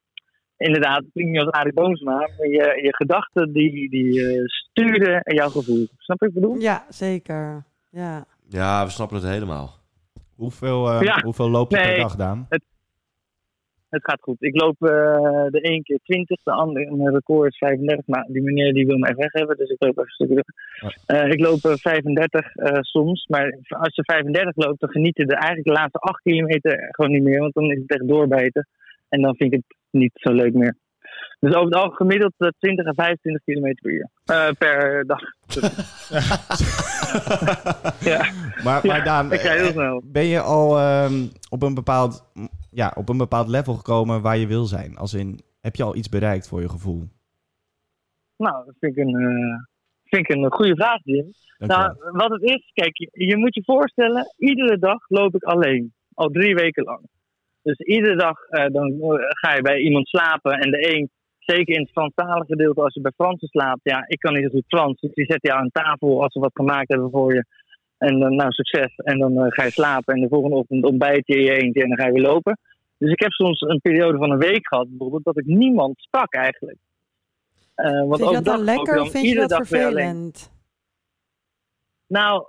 Speaker 4: inderdaad, het klinkt niet als Arie Boomsma, maar je, je gedachten die, die eh, sturen jouw gevoel. Snap je wat ik bedoel?
Speaker 2: Ja, zeker. Ja.
Speaker 1: Ja, we snappen het helemaal.
Speaker 3: Hoeveel, eh,
Speaker 4: Ja.
Speaker 3: hoeveel loop je per
Speaker 4: Nee.
Speaker 3: dag, Daan?
Speaker 4: Het gaat goed. Ik loop eh, de een keer 20, de andere mijn record is 35. Maar die meneer die wil mij weg hebben, dus ik loop even een stukje terug. Eh, ik loop eh, 35 eh, soms, maar als je 35 loopt, dan geniet je er eigenlijk de laatste 8 kilometer gewoon niet meer. Want dan is het echt doorbijten. En dan vind ik het niet zo leuk meer. Dus over het algemeen gemiddeld eh, 20 à 25 kilometer per uur. Eh, per dag. Ja,
Speaker 3: Maar, maar
Speaker 4: Ja,
Speaker 3: Daan,
Speaker 4: ik ga heel
Speaker 3: eh,
Speaker 4: snel.
Speaker 3: ben je al ehm, op, een bepaald, mm, ja, op een bepaald level gekomen waar je wil zijn? Als in, heb je al iets bereikt voor je gevoel?
Speaker 4: Nou, dat vind ik een, eh, vind ik een goede vraag, Jim.
Speaker 3: Dank je
Speaker 4: Nou,
Speaker 3: wel.
Speaker 4: wat het is, kijk, je, je moet je voorstellen, iedere dag loop ik alleen. Al drie weken lang. Dus iedere dag eh, dan eh, ga je bij iemand slapen. En de een, zeker in het Franstalige gedeelte, als je bij Fransen slaapt. Ja, ik kan niet zo goed Frans. Dus die zet je aan tafel als ze wat gemaakt hebben voor je. En dan, nou, succes. En dan eh, ga je slapen. En de volgende ochtend ontbijt je in je eentje en dan ga je weer lopen. Dus ik heb soms een periode van een week gehad, bijvoorbeeld, dat ik niemand sprak eigenlijk. Eh, want
Speaker 2: Vind je dat
Speaker 4: overdag
Speaker 2: dan
Speaker 4: ook
Speaker 2: lekker
Speaker 4: dan
Speaker 2: of vind je
Speaker 4: iedere
Speaker 2: dat
Speaker 4: dag weer alleen.
Speaker 2: vervelend?
Speaker 4: Nou,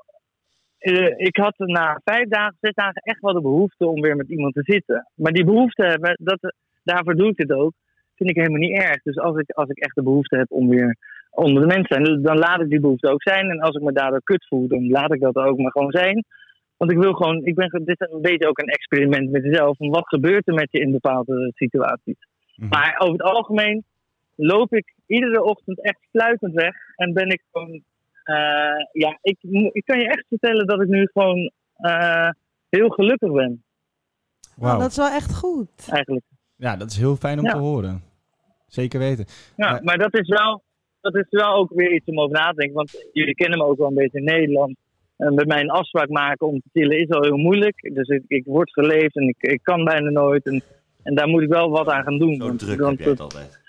Speaker 4: eh, ik had na vijf dagen, zes dagen echt wel de behoefte om weer met iemand te zitten. Maar die behoefte hebben, dat, daarvoor doe ik het ook, vind ik helemaal niet erg. Dus als ik, als ik echt de behoefte heb om weer onder de mensen te zijn, dan laat ik die behoefte ook zijn. En als ik me daardoor kut voel, dan laat ik dat ook maar gewoon zijn. Want ik wil gewoon, ik ben, ge- dit is een beetje ook een experiment met mezelf. Van wat gebeurt er met je in bepaalde situaties?
Speaker 3: Mhm.
Speaker 4: Maar over het algemeen loop ik iedere ochtend echt fluitend weg. En ben ik gewoon eh, ja, ik, mo- ik kan je echt vertellen dat ik nu gewoon eh, heel gelukkig ben,
Speaker 2: Nou,
Speaker 3: Wauw.
Speaker 2: dat is wel echt goed.
Speaker 4: eigenlijk.
Speaker 3: Ja, dat is heel fijn om
Speaker 4: Ja.
Speaker 3: te horen. Zeker weten.
Speaker 4: Ja,
Speaker 3: Maar-
Speaker 4: maar dat is, wel, dat is wel ook weer iets om over na te denken. Want jullie kennen me ook wel een beetje in Nederland. En met mij een afspraak maken om te tillen is al heel moeilijk. Dus ik, ik word geleefd en ik, ik kan bijna nooit. En, en daar moet ik wel wat aan gaan doen.
Speaker 1: Zo
Speaker 4: Want-
Speaker 1: druk
Speaker 4: want
Speaker 1: heb jij het altijd.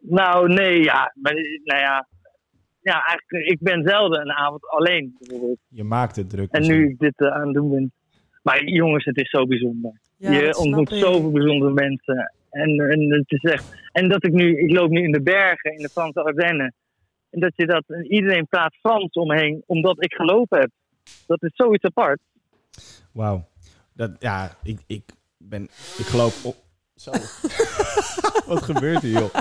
Speaker 4: Nou, nee, ja. Maar, nou ja. Ja, eigenlijk, ik ben zelden een avond alleen. bijvoorbeeld.
Speaker 3: Je maakt het druk. Dus
Speaker 4: En nu ik dit eh, aan het doen ben. Maar jongens, het is zo bijzonder.
Speaker 2: Ja, dat
Speaker 4: je
Speaker 2: snap
Speaker 4: ontmoet
Speaker 2: ik.
Speaker 4: zoveel bijzondere mensen. En, en het is echt. En dat ik nu, ik loop nu in de bergen, in de Franse Ardennen. En dat je dat, en iedereen praat Frans omheen, omdat ik gelopen heb. Dat is zoiets apart.
Speaker 3: Wauw. Dat, ja, ik, ik ben... Ik geloof... op. Zo. [LAUGHS] Wat gebeurt hier, joh?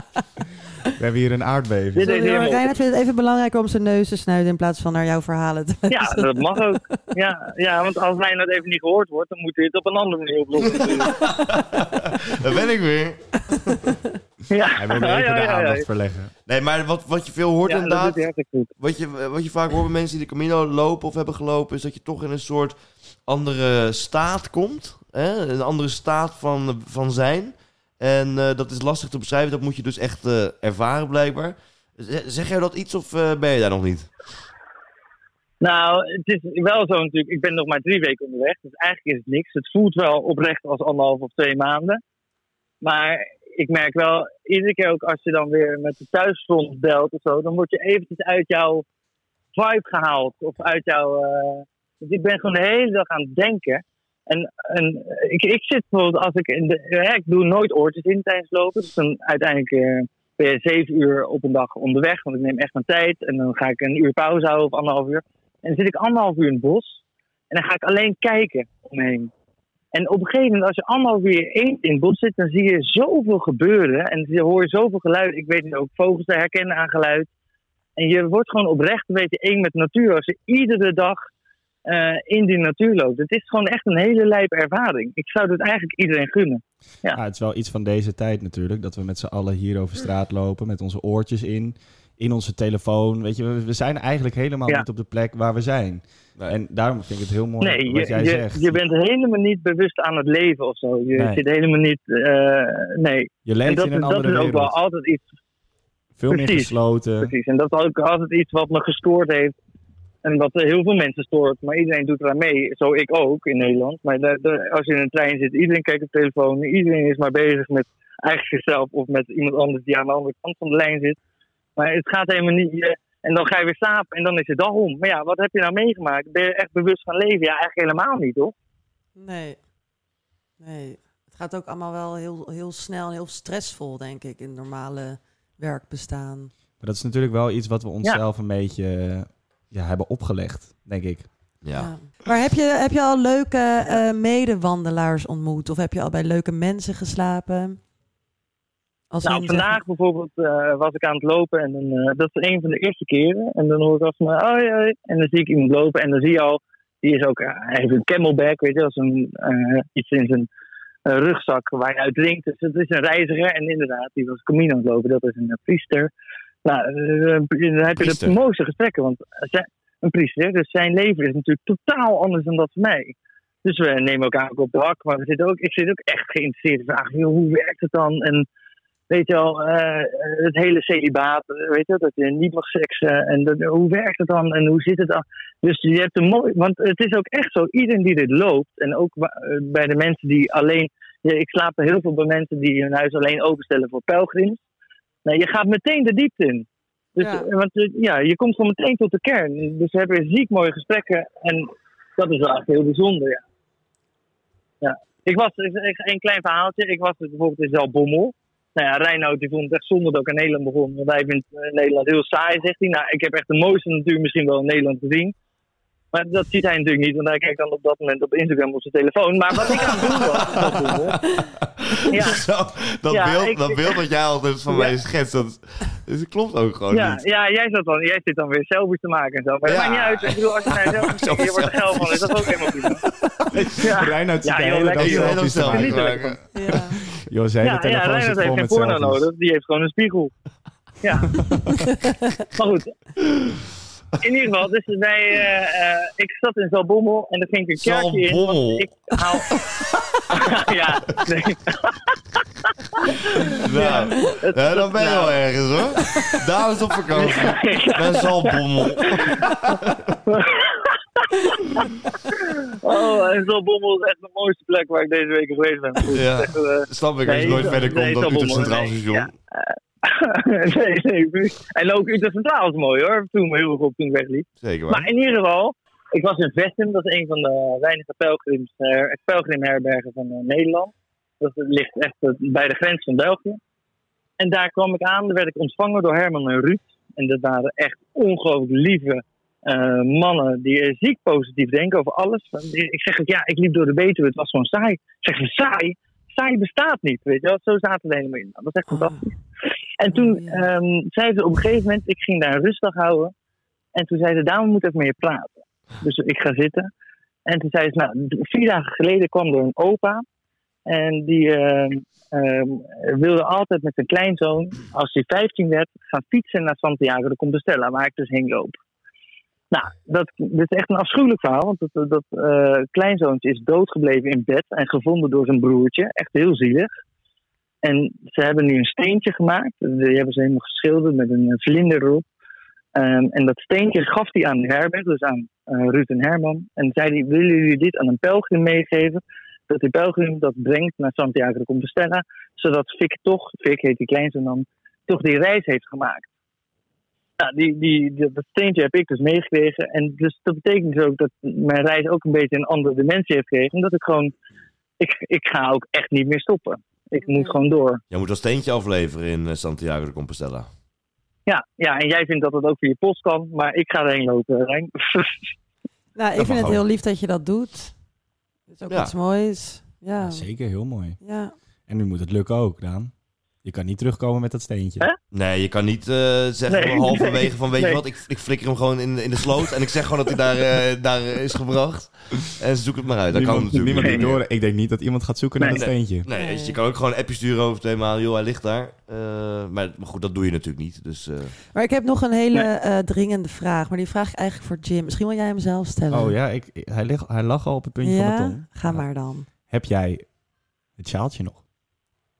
Speaker 3: We hebben hier een aardbeving.
Speaker 4: Dit is
Speaker 2: Sorry, hoor,
Speaker 4: helemaal-
Speaker 2: Reinhard vindt het even belangrijk om zijn neus te snuiten in plaats van naar jouw verhalen te
Speaker 4: Ja, dat mag ook.
Speaker 2: [LAUGHS]
Speaker 4: Ja, ja want als mij dat even niet gehoord wordt, dan moet je het op een andere manier
Speaker 2: [LAUGHS]
Speaker 4: oplossen.
Speaker 1: Daar ben ik weer.
Speaker 4: Ja,
Speaker 3: Hij wilde even
Speaker 4: ja,
Speaker 3: de
Speaker 4: ja, ja.
Speaker 3: aandacht verleggen.
Speaker 1: Nee, maar wat, wat je veel hoort
Speaker 4: Ja, dat doet
Speaker 1: inderdaad,
Speaker 4: hij hartstikke goed.
Speaker 1: wat je, wat je vaak hoort bij mensen die de Camino lopen of hebben gelopen, is dat je toch in een soort andere staat komt. Hè? Een andere staat van, van zijn. En eh, dat is lastig te beschrijven, dat moet je dus echt eh, ervaren blijkbaar. Z- Zeg jij dat iets of eh, ben je daar nog niet?
Speaker 4: Nou, het is wel zo natuurlijk. Ik ben nog maar drie weken onderweg. Dus eigenlijk is het niks. Het voelt wel oprecht als anderhalf of twee maanden. Maar ik merk wel, iedere keer ook als je dan weer met de thuisfront belt of zo, dan word je eventjes uit jouw vibe gehaald. Of uit jouw. eh, Dus ik ben gewoon de hele dag aan het denken. En, en ik, ik zit bijvoorbeeld als ik. In de, hè, ik doe nooit oortjes in tijdens lopen. Dus dan uiteindelijk. eh, ben je zeven uur op een dag onderweg, want ik neem echt mijn tijd. En dan ga ik een uur pauze houden of anderhalf uur. En dan zit ik anderhalf uur in het bos. En dan ga ik alleen kijken omheen. En op een gegeven moment, als je anderhalf uur één in het bos zit, dan zie je zoveel gebeuren. En je hoor je zoveel geluiden. Ik weet nu ook vogels te herkennen aan geluid. En je wordt gewoon oprecht een beetje één met de natuur. Als je iedere dag eh, in die natuur loopt. Het is gewoon echt een hele lijpe ervaring. Ik zou dit eigenlijk iedereen gunnen. Ja.
Speaker 3: Ja, Nou, het is wel iets van deze tijd natuurlijk. Dat we met z'n allen hier over straat lopen. Met onze oortjes in. In onze telefoon. Weet je, we, we zijn eigenlijk helemaal
Speaker 4: Ja.
Speaker 3: niet op de plek waar we zijn.
Speaker 1: Nee.
Speaker 3: En daarom vind ik het heel mooi
Speaker 4: Nee,
Speaker 3: wat
Speaker 4: je,
Speaker 3: jij
Speaker 4: je,
Speaker 3: zegt.
Speaker 4: je bent helemaal niet bewust aan het leven of zo. Je
Speaker 3: Nee.
Speaker 4: zit helemaal niet. eh, nee,
Speaker 3: Je
Speaker 4: en
Speaker 3: leeft
Speaker 4: dat,
Speaker 3: in een
Speaker 4: dat
Speaker 3: andere
Speaker 4: is ook
Speaker 3: wereld.
Speaker 4: wel altijd iets
Speaker 3: Veel meer
Speaker 4: precies.
Speaker 3: gesloten.
Speaker 4: Precies, en dat is ook altijd iets wat me gestoord heeft. En wat eh, heel veel mensen stoort, maar iedereen doet eraan mee. Zo ik ook in Nederland. Maar daar- daar- als je in een trein zit, iedereen kijkt op telefoon. Iedereen is maar bezig met eigenlijk zichzelf of met iemand anders die aan de andere kant van de lijn zit. Maar het gaat helemaal niet. je- En dan ga je weer slapen en dan is je dag om. Maar ja, wat heb je nou meegemaakt? Ben je echt bewust van leven? Ja, eigenlijk helemaal niet, toch?
Speaker 2: Nee. Nee. Het gaat ook allemaal wel heel, heel snel en heel stressvol, denk ik, in het normale werkbestaan.
Speaker 3: Maar dat is natuurlijk wel iets wat we onszelf een beetje eh, ja, hebben opgelegd, denk ik.
Speaker 1: Ja.
Speaker 2: Maar heb je, heb je al leuke eh, medewandelaars ontmoet? Of heb je al bij leuke mensen geslapen? Als
Speaker 4: Nou,
Speaker 2: in, zeg-
Speaker 4: vandaag bijvoorbeeld eh, was ik aan het lopen en dan, eh, dat is een van de eerste keren. En dan hoor ik achter me, oi, oi. En dan zie ik iemand lopen en dan zie je al, die is ook, eh, hij heeft een camelback, weet je, dat is een, eh, iets in zijn eh, rugzak waar je uit drinkt. Dus het is een reiziger en inderdaad, die was Camino aan het lopen, dat is een eh, priester. Nou, eh, dan heb je
Speaker 1: Priester.
Speaker 4: de mooiste gesprekken, want eh, zij- een priester, dus zijn leven is natuurlijk totaal anders dan dat van mij. Dus we nemen elkaar ook op de hak, maar we zitten ook, ik zit ook echt geïnteresseerd in vragen, joh, hoe werkt het dan? En weet je wel, eh, het hele celibaat, eh, weet je wel, dat je niet mag seksen. En dat, hoe werkt het dan en hoe zit het dan? Dus je hebt een mooi, want het is ook echt zo, iedereen die dit loopt, en ook wa- eh, bij de mensen die alleen, ja, ik slaap er heel veel bij mensen die hun huis alleen openstellen voor pelgrims. Nou, je gaat meteen de diepte in. Dus,
Speaker 2: Ja.
Speaker 4: eh, Want eh, ja, je komt gewoon meteen tot de kern. Dus we hebben ziek mooie gesprekken en dat is wel echt heel bijzonder, ja. ja. Ik was, een klein verhaaltje, ik was bijvoorbeeld in Zalbommel. Nou ja, Reinoud die vond het echt zonde dat ik aan Nederland begon. Want hij vindt eh, Nederland heel saai, zegt hij. Nou, ik heb echt de mooiste natuur misschien wel in Nederland gezien. Maar dat ziet hij natuurlijk niet, want hij kijkt dan op dat moment op Instagram op zijn telefoon. Maar wat ik aan het doen was, in Zalbommel,
Speaker 1: [LAUGHS]
Speaker 4: Ja.
Speaker 1: Zo, dat,
Speaker 4: Ja,
Speaker 1: beeld,
Speaker 4: ik-
Speaker 1: dat beeld dat jij altijd van
Speaker 4: Ja.
Speaker 1: mij schetst, dat, dat klopt ook gewoon
Speaker 4: ja,
Speaker 1: Oh, niet.
Speaker 4: ja, jij, zat dan, jij zit dan weer selfies te maken en zo. Maar het
Speaker 1: Ja.
Speaker 4: maakt niet uit. Ik bedoel, als
Speaker 1: [LAUGHS]
Speaker 4: je naar jezelf kijkt, je wordt er geil van. Is dat ook helemaal prima. Ja.
Speaker 3: Reinhard zit
Speaker 4: Ja,
Speaker 3: de
Speaker 4: joh,
Speaker 3: hele dag
Speaker 4: lekker,
Speaker 1: Ik
Speaker 4: joh.
Speaker 1: ben
Speaker 3: selfies te
Speaker 1: zelf
Speaker 3: maken.
Speaker 4: Niet
Speaker 1: maken.
Speaker 4: lekker.
Speaker 2: Ja.
Speaker 3: [LAUGHS] Joh, zijn hele
Speaker 4: Ja, Nou, ja
Speaker 3: telefoon
Speaker 4: Reinhard
Speaker 3: zit vol
Speaker 4: heeft geen
Speaker 3: met
Speaker 4: porno
Speaker 3: selfies.
Speaker 4: nodig. Die heeft gewoon een spiegel. Ja. maar goed. in ieder geval, dus wij, eh, eh, ik zat in Zalbommel en er ging ik een kerkje in. want
Speaker 1: Zalbommel.
Speaker 4: Ik haal... [LAUGHS] ja, nee.
Speaker 1: Nou, hè, dan ben je wel ergens hoor. Daar is op vakantie. Ben Zalbommel.
Speaker 4: [LAUGHS] Oh, en Zalbommel is echt de mooiste plek waar ik deze week geweest ben. Goed,
Speaker 1: Ja.
Speaker 4: echt, eh,
Speaker 1: Snap ik als je nooit verder komt dan Utrecht Centraal
Speaker 4: nee,
Speaker 1: Station.
Speaker 4: ja. [LAUGHS] nee, nee. precies. En ook Utrecht Centraal is mooi hoor. Toen me heel erg op toen ik wegliep.
Speaker 1: Zeker
Speaker 4: Maar
Speaker 1: waar.
Speaker 4: in ieder geval, ik was in Vestum. Dat is een van de weinige pelgrims, eh, pelgrimherbergen van eh, Nederland. Dat ligt echt eh, bij de grens van België. En daar kwam ik aan. Daar werd ik ontvangen door Herman en Ruud. En dat waren echt ongelooflijk lieve eh, mannen die eh, ziek positief denken over alles. Want die- Ik zeg ook, ja, ik liep door de Betuwe. Het was gewoon saai. Zeggen ze, saai? Saai bestaat niet, weet je wel. Zo zaten we helemaal in. Nou, Dat is echt
Speaker 2: Oh.
Speaker 4: fantastisch. En toen
Speaker 2: Ja.
Speaker 4: ehm, zei ze op een gegeven moment, ik ging daar een rustdag houden. En toen zei ze, dame moet even met je praten. Dus ik ga zitten. En toen zei ze, nou, d- vier dagen geleden kwam er een opa. En die ehm, ehm, wilde altijd met zijn kleinzoon, als hij 15 werd, gaan fietsen naar Santiago de Compostela, waar ik dus heen loop. Nou, dat, dit is echt een afschuwelijk verhaal, want dat, dat eh, kleinzoontje is doodgebleven in bed en gevonden door zijn broertje. Echt heel zielig. En ze hebben nu een steentje gemaakt. Die hebben ze helemaal geschilderd met een eh, vlinder erop. Ehm, en dat steentje gaf hij aan de herberg, dus aan eh, Ruud en Herman. En zei hij, willen jullie dit aan een pelgrim meegeven? Dat die pelgrim dat brengt naar Santiago de Compostela. Zodat Fik toch, Fik heet die kleinste dan, toch die reis heeft gemaakt. Nou, die, die, die- dat steentje heb ik dus meegekregen. En dus dat betekent dus ook dat mijn reis ook een beetje een andere dimensie heeft gekregen. Omdat ik gewoon, ik, ik ga ook echt niet meer stoppen. Ik moet gewoon door.
Speaker 1: Jij moet dat steentje afleveren in eh, Santiago de Compostela.
Speaker 4: Ja, ja, en jij vindt dat het ook via post kan, maar ik ga erheen lopen, Rijn. [LAUGHS]
Speaker 2: Nou,
Speaker 1: Dat
Speaker 2: ik
Speaker 1: mag
Speaker 2: vind het
Speaker 1: ook.
Speaker 2: heel lief dat je dat doet. Dat is ook
Speaker 1: Ja.
Speaker 2: iets moois. Ja.
Speaker 3: Ja, zeker, heel mooi.
Speaker 2: Ja.
Speaker 3: En nu moet het lukken ook, Daan. Je kan niet terugkomen met dat steentje.
Speaker 4: Hè?
Speaker 1: Nee, je kan niet eh, zeggen
Speaker 4: Nee,
Speaker 1: halverwege
Speaker 4: nee,
Speaker 1: van weet je
Speaker 4: nee.
Speaker 1: wat, ik, ik flikker hem gewoon in, in de sloot en ik zeg gewoon dat hij daar, eh, daar is gebracht. En zoek het maar uit. Dat kan
Speaker 3: niemand,
Speaker 1: natuurlijk
Speaker 3: niemand
Speaker 1: niet.
Speaker 3: die door. Ik denk niet dat iemand gaat zoeken naar
Speaker 4: Nee.
Speaker 3: dat steentje.
Speaker 1: Nee,
Speaker 2: Nee.
Speaker 1: weet je, je kan ook gewoon een appje sturen over twee maanden. Joh, hij ligt daar. Eh, maar, maar goed, dat doe je natuurlijk niet. Dus
Speaker 4: [LAUGHS]
Speaker 1: eh,
Speaker 2: Maar ik heb nog een hele
Speaker 4: Nee.
Speaker 2: eh, dringende vraag. Maar die vraag ik eigenlijk voor Jim. Misschien wil jij hem zelf stellen.
Speaker 3: Oh ja, ik, ik- hij, lig, hij lag al op het puntje
Speaker 2: Ja?
Speaker 3: van de tong.
Speaker 2: Ga
Speaker 3: Ja.
Speaker 2: maar dan.
Speaker 3: Heb jij het sjaaltje nog?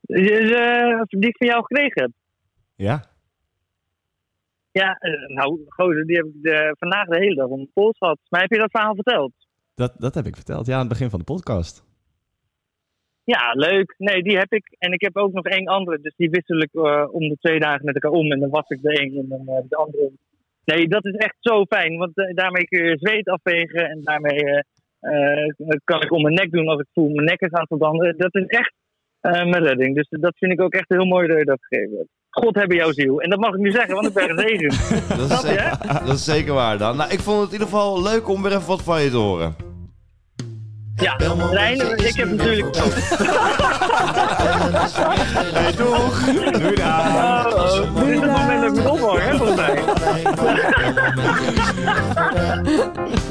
Speaker 4: Dus, eh, die ik van jou gekregen heb.
Speaker 3: Ja?
Speaker 4: Ja, eh, nou, gozer, die heb ik eh, vandaag de hele dag om de pols gehad. Maar heb je dat verhaal verteld?
Speaker 3: Dat, dat heb ik verteld. Ja, aan het begin van de podcast.
Speaker 4: Ja, leuk. Nee, die heb ik. En ik heb ook nog één andere, dus die wissel ik eh, om de twee dagen met elkaar om. En dan was ik de een en dan eh, de andere. Nee, dat is echt zo fijn, want eh, daarmee kun je zweet afvegen en daarmee eh, eh, kan ik om mijn nek doen als ik voel mijn nek is aan het verbranden. Dat is echt eh, mijn redding. Dus dat vind ik ook echt heel mooi dat je dat gegeven hebt. God hebben jouw ziel. En dat mag ik nu zeggen, want ik ben gezegend.
Speaker 1: dat, is
Speaker 4: Snap je?
Speaker 1: zeker, dat is zeker waar dan. Nou, ik vond het in ieder geval leuk om weer even wat van je te horen.
Speaker 4: Ja, Rijn, ik heb natuurlijk...
Speaker 1: [LAUGHS] Hey, doeg!
Speaker 3: Doei Daan!
Speaker 4: Oh, oh. Dit is het moment dat ik moet ophangen, hè, volgens mij.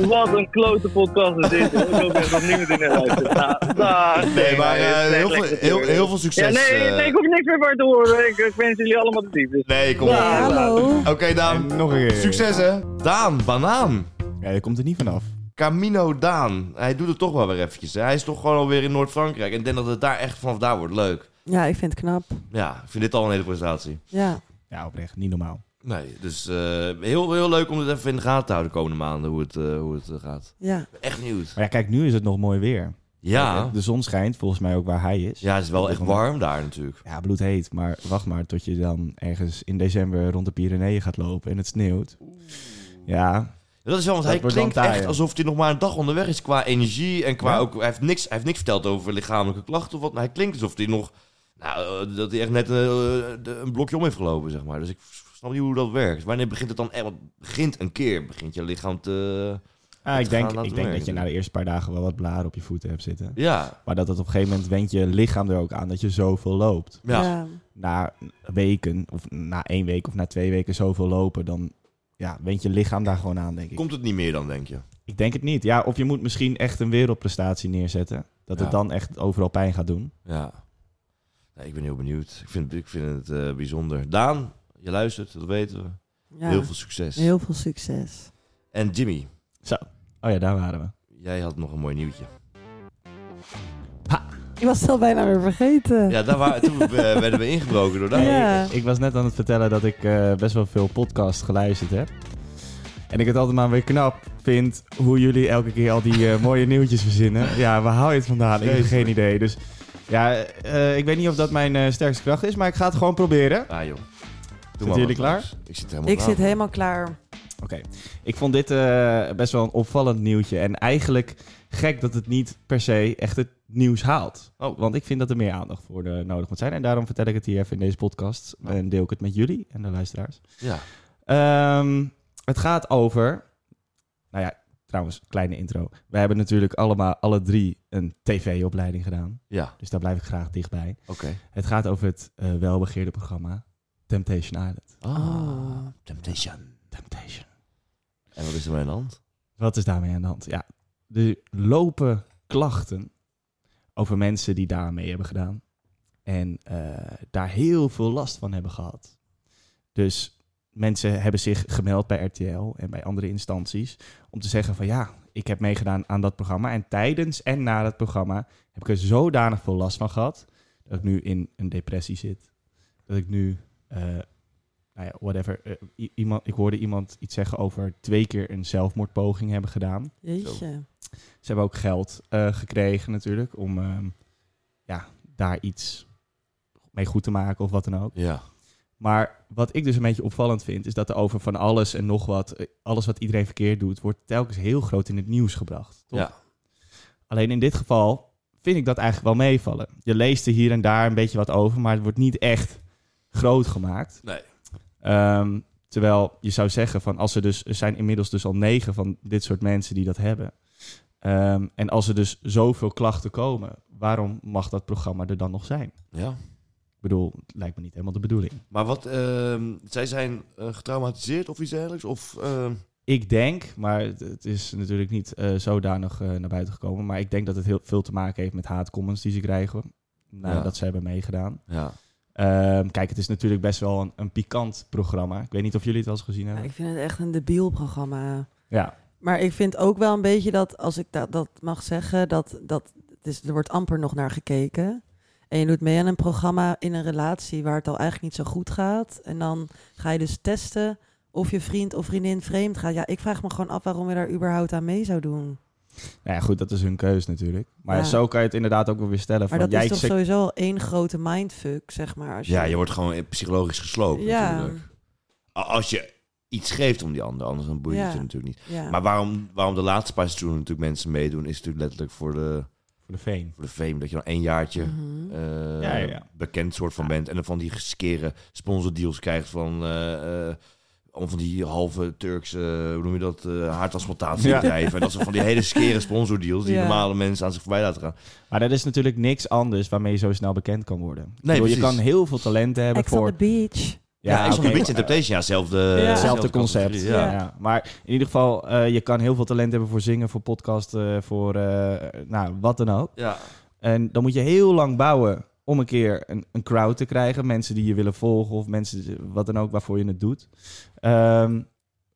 Speaker 4: Wat een klote podcast is dit. hoor. Ik hoop echt dat niemand in de luistert. Nou, dag.
Speaker 1: Nee, maar eh,
Speaker 4: het is echt
Speaker 1: heel, veel,
Speaker 4: lekker
Speaker 1: heel,
Speaker 4: weer.
Speaker 1: heel veel
Speaker 4: Ja,
Speaker 1: succes.
Speaker 4: nee,
Speaker 1: eh.
Speaker 4: nee, ik hoef niks meer voor te horen. Ik, ik wens jullie allemaal de diepte.
Speaker 1: Nee, kom op.
Speaker 4: Ja,
Speaker 2: Hey, hallo.
Speaker 1: Oké, Daan.
Speaker 3: Nog een keer.
Speaker 1: Succes, hè? Daan, banaan.
Speaker 3: Ja, je komt er niet vanaf.
Speaker 1: Camino Daan. Hij doet het toch wel weer eventjes. hè? Hij is toch gewoon alweer in Noord-Frankrijk. En ik denk dat het daar echt vanaf daar wordt leuk.
Speaker 2: Ja, ik vind het knap.
Speaker 1: Ja, ik vind dit al een hele prestatie.
Speaker 2: Ja.
Speaker 3: Ja, oprecht. Niet normaal.
Speaker 1: Nee, dus eh, heel, heel leuk om dit even in de gaten te houden de komende maanden, hoe het, eh, hoe het eh, gaat.
Speaker 2: Ja.
Speaker 1: Echt nieuws.
Speaker 3: Maar ja, kijk, nu is het nog mooi weer.
Speaker 1: Ja.
Speaker 3: De zon schijnt volgens mij ook waar hij is.
Speaker 1: Ah. ja, het is wel echt warm daar natuurlijk.
Speaker 3: Ja, bloedheet. Maar wacht maar tot je dan ergens in december rond de Pyreneeën gaat lopen en het sneeuwt. Ja,
Speaker 1: Dat is wel, want
Speaker 3: Dat
Speaker 1: hij
Speaker 3: wordt
Speaker 1: klinkt
Speaker 3: dan taai,
Speaker 1: echt
Speaker 3: hè?
Speaker 1: alsof hij nog maar een dag onderweg is qua energie en qua
Speaker 3: Ja.
Speaker 1: ook... Hij heeft, niks, hij heeft niks verteld over lichamelijke klachten of wat, maar hij klinkt alsof hij nog... Nou, eh, dat hij echt net eh, de- een blokje om heeft gelopen, zeg maar. Dus ik snap niet hoe dat werkt. Wanneer begint het dan echt? Want het begint een keer, begint je lichaam te...
Speaker 3: Ah, ik
Speaker 1: gaan
Speaker 3: denk,
Speaker 1: laten
Speaker 3: ik denk
Speaker 1: merken.
Speaker 3: dat je na de eerste paar dagen wel wat blaren op je voeten hebt zitten.
Speaker 1: Ja,
Speaker 3: Maar dat het op een gegeven moment went je lichaam er ook aan dat je zoveel loopt.
Speaker 1: ja.
Speaker 3: Na weken, of na één week of na twee weken zoveel lopen, dan ja, went je lichaam daar gewoon aan, denk ik.
Speaker 1: Komt het niet meer dan, denk je?
Speaker 3: Ik denk het niet. Ja, of je moet misschien echt een wereldprestatie neerzetten. Dat
Speaker 1: Ja.
Speaker 3: het dan echt overal pijn gaat doen.
Speaker 1: Ja. Nee, ik ben heel benieuwd. Ik vind, ik vind het eh, bijzonder. Daan, je luistert, dat weten we.
Speaker 2: Ja.
Speaker 1: Heel veel succes.
Speaker 2: Heel veel succes.
Speaker 1: En Jimmy,
Speaker 3: Zo. Oh ja, daar waren we.
Speaker 1: jij had nog een mooi nieuwtje.
Speaker 2: Ik was het al bijna weer vergeten.
Speaker 1: Ja, daar waren, toen eh,
Speaker 2: [LAUGHS]
Speaker 1: werden we ingebroken door daar.
Speaker 2: Ja.
Speaker 3: Ik was net aan het vertellen dat ik eh, best wel veel podcasts geluisterd heb. En ik het altijd maar weer knap vind hoe jullie elke keer al die eh, mooie nieuwtjes verzinnen. Ja, waar hou je het vandaan? Ik heb
Speaker 1: Vreselijk.
Speaker 3: geen idee. Dus ja, eh, ik weet niet of dat mijn eh, sterkste kracht is, maar ik ga het gewoon proberen.
Speaker 1: Ah joh. Doe
Speaker 3: Zijn
Speaker 1: maar
Speaker 3: jullie
Speaker 1: wat,
Speaker 3: klaar?
Speaker 1: Lars. Ik zit helemaal
Speaker 2: Ik
Speaker 1: klaar
Speaker 2: zit
Speaker 1: voor.
Speaker 2: helemaal klaar.
Speaker 3: Oké, ik vond dit eh, best wel een opvallend nieuwtje. En eigenlijk gek dat het niet per se echt het nieuws haalt.
Speaker 1: Oh.
Speaker 3: Want ik vind dat er meer aandacht voor eh, nodig moet zijn. En daarom vertel ik het hier even in deze podcast.
Speaker 1: Ja.
Speaker 3: En deel ik het met jullie en de luisteraars.
Speaker 1: Ja.
Speaker 3: Ehm, het gaat over. Nou ja, trouwens, kleine intro. Wij hebben natuurlijk allemaal, alle drie, een tv-opleiding gedaan.
Speaker 1: Ja,
Speaker 3: Dus daar blijf ik graag dichtbij.
Speaker 1: oké.
Speaker 3: Het gaat over het eh, welbegeerde programma Temptation Island.
Speaker 1: Ah.
Speaker 2: Oh.
Speaker 1: Temptation.
Speaker 3: Temptation.
Speaker 1: En wat is er mee aan de hand?
Speaker 3: Wat is daarmee aan de hand? Ja, er lopen klachten over mensen die daarmee hebben gedaan. En eh, daar heel veel last van hebben gehad. Dus mensen hebben zich gemeld bij RTL en bij andere instanties. Om te zeggen van ja, ik heb meegedaan aan dat programma. En tijdens en na dat programma heb ik er zodanig veel last van gehad. Dat ik nu in een depressie zit. Dat ik nu, eh, nou ja, whatever. eh, i- iemand, ik hoorde iemand iets zeggen over twee keer een zelfmoordpoging hebben gedaan.
Speaker 2: Jeetje.
Speaker 3: Ze hebben ook geld eh, gekregen natuurlijk om ehm, ja, daar iets mee goed te maken of wat dan ook.
Speaker 1: Ja.
Speaker 3: Maar wat ik dus een beetje opvallend vind, is dat er over van alles en nog wat, eh, alles wat iedereen verkeerd doet, wordt telkens heel groot in het nieuws gebracht. Toch?
Speaker 1: Ja.
Speaker 3: Alleen in dit geval vind ik dat eigenlijk wel meevallen. Je leest er hier en daar een beetje wat over, maar het wordt niet echt groot gemaakt.
Speaker 1: Nee.
Speaker 3: Ehm, terwijl je zou zeggen van als er dus er zijn inmiddels dus al negen van dit soort mensen die dat hebben. Ehm, en als er dus zoveel klachten komen, waarom mag dat programma er dan nog zijn?
Speaker 1: Ja.
Speaker 3: Ik bedoel, het lijkt me niet helemaal de bedoeling.
Speaker 1: Maar wat, ehm, zij zijn eh, getraumatiseerd of iets dergelijks? Of, ehm,
Speaker 3: Ik denk, maar het, het is natuurlijk niet eh, zodanig eh, naar buiten gekomen. Maar ik denk dat het heel veel te maken heeft met haatcomments die ze krijgen. Nadat
Speaker 1: Ja.
Speaker 3: ze hebben meegedaan.
Speaker 1: ja.
Speaker 3: Ehm, kijk, het is natuurlijk best wel een, een pikant programma. Ik weet niet of jullie het wel eens gezien
Speaker 2: Ja,
Speaker 3: hebben.
Speaker 2: ik vind het echt een debiel programma.
Speaker 3: Ja,
Speaker 2: Maar ik vind ook wel een beetje dat, als ik dat, dat mag zeggen, dat, dat het is, er wordt amper nog naar gekeken. En je doet mee aan een programma in een relatie waar het al eigenlijk niet zo goed gaat. En dan ga je dus testen of je vriend of vriendin vreemd gaat. Ja, ik vraag me gewoon af waarom je daar überhaupt aan mee zou doen.
Speaker 3: Nou ja, goed, dat is hun keus natuurlijk. Maar
Speaker 2: Ja.
Speaker 3: zo kan je het inderdaad ook wel weer stellen.
Speaker 2: Maar
Speaker 3: van,
Speaker 2: dat
Speaker 3: jij
Speaker 2: is toch
Speaker 3: zegt-
Speaker 2: sowieso al één grote mindfuck, zeg maar. Als je,
Speaker 1: ja, je wordt gewoon psychologisch gesloopt
Speaker 2: Ja.
Speaker 1: natuurlijk. A- Als je iets geeft om die ander, anders dan boeit het
Speaker 2: Ja.
Speaker 1: je natuurlijk niet.
Speaker 2: Ja.
Speaker 1: Maar waarom, waarom de laatste paar seizoenen natuurlijk mensen meedoen, is natuurlijk letterlijk voor de,
Speaker 3: Voor de veen.
Speaker 1: voor de fame. Dat je dan één jaartje
Speaker 2: Mhm.
Speaker 1: eh,
Speaker 3: Ja, ja, ja.
Speaker 1: bekend soort van bent. En dan van die geskere sponsordeals krijgt van... eh, eh, om van die halve Turkse, hoe noem je dat, eh haartransplantatiebedrijven. En dat zijn van die hele skere sponsordeals die
Speaker 2: Ja.
Speaker 1: normale mensen aan zich voorbij laten gaan.
Speaker 3: Maar dat is natuurlijk niks anders waarmee je zo snel bekend kan worden. Ik bedoel, je
Speaker 1: precies.
Speaker 3: kan heel veel talenten hebben
Speaker 2: Ex on
Speaker 3: voor...
Speaker 2: the beach.
Speaker 1: Ja, is
Speaker 3: oké,
Speaker 1: van de Beach
Speaker 3: maar-
Speaker 1: Interpretation, ja, zelfde...
Speaker 2: Ja.
Speaker 3: Hetzelfde concept.
Speaker 1: categorie,
Speaker 3: Ja.
Speaker 1: Ja.
Speaker 3: ja. Maar in ieder geval, eh, je kan heel veel talent hebben voor zingen, voor podcasten, voor eh, nou, wat dan ook.
Speaker 1: Ja.
Speaker 3: En dan moet je heel lang bouwen om een keer een, een crowd te krijgen. Mensen die je willen volgen of mensen die- wat dan ook waarvoor je het doet. Ehm,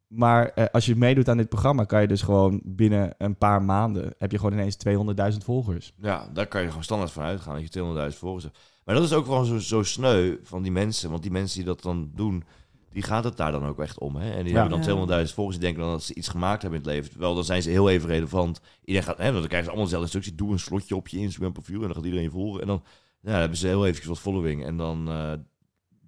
Speaker 3: maar eh, als je meedoet aan dit programma, kan je dus gewoon binnen een paar maanden... heb je gewoon ineens 200.000 volgers.
Speaker 1: Ja, daar kan je gewoon standaard van uitgaan dat je 200.000 volgers hebt. Maar dat is ook gewoon zo, zo sneu van die mensen. Want die mensen die dat dan doen, die gaat het daar dan ook echt om. Hè? En die
Speaker 3: Ja.
Speaker 1: hebben dan
Speaker 2: Ja.
Speaker 1: 200.000 volgers die denken dan dat ze iets gemaakt hebben in het leven. Terwijl dan zijn ze heel even relevant. Iedereen gaat, hè, want dan krijgen ze allemaal dezelfde instructie. Doe een slotje op je Instagram profiel en dan gaat iedereen je volgen. En dan, ja, dan hebben ze heel eventjes wat following. En dan, eh,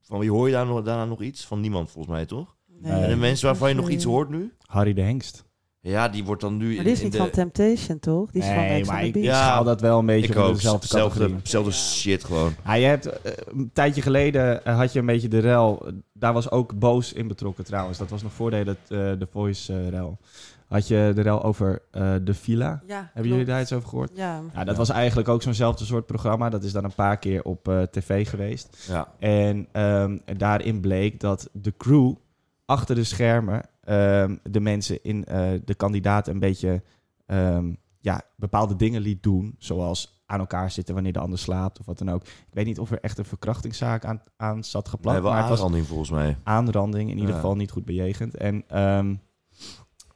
Speaker 1: van wie hoor je daar nog, daarna nog iets? Van niemand volgens mij, toch?
Speaker 2: Nee.
Speaker 3: Eh,
Speaker 1: En de mensen waarvan je nog
Speaker 2: Sorry.
Speaker 1: iets hoort nu?
Speaker 3: Harry de Hengst.
Speaker 1: Ja, die wordt dan nu...
Speaker 2: Maar die is
Speaker 1: in
Speaker 2: niet eh,
Speaker 1: de,
Speaker 2: van Temptation, toch? Die is van
Speaker 3: nee,
Speaker 2: Ex on
Speaker 3: maar
Speaker 2: the
Speaker 3: ik,
Speaker 2: Beach.
Speaker 3: ik
Speaker 1: Ja.
Speaker 3: schaal dat wel een beetje
Speaker 1: Ik
Speaker 3: onder
Speaker 1: ook,
Speaker 3: dezelfde
Speaker 1: zelfde,
Speaker 3: categorie.
Speaker 1: zelfde
Speaker 2: Ja.
Speaker 1: shit gewoon.
Speaker 3: Ja, je hebt, eh, een tijdje geleden eh, had je een beetje de rel. Daar was ook Boos in betrokken trouwens. Dat was nog voordat dat eh, de Voice-rel. had je de rel over eh, de villa.
Speaker 2: Ja,
Speaker 3: Hebben jullie
Speaker 2: klopt.
Speaker 3: daar iets over gehoord?
Speaker 2: Ja.
Speaker 3: Ja, Nou, dat was eigenlijk ook zo'nzelfde soort programma. Dat is dan een paar keer op eh, tv geweest.
Speaker 1: Ja.
Speaker 3: En ehm, daarin bleek dat de crew achter de schermen ehm, de mensen in eh, de kandidaat een beetje ehm, ja, bepaalde dingen liet doen. Zoals aan elkaar zitten wanneer de ander slaapt of wat dan ook. Ik weet niet of er echt een verkrachtingszaak aan, aan zat geplakt.
Speaker 1: Nee, wel
Speaker 3: maar het was
Speaker 1: aanranding volgens mij.
Speaker 3: aanranding in ieder
Speaker 1: Ja.
Speaker 3: geval niet goed bejegend. En ehm,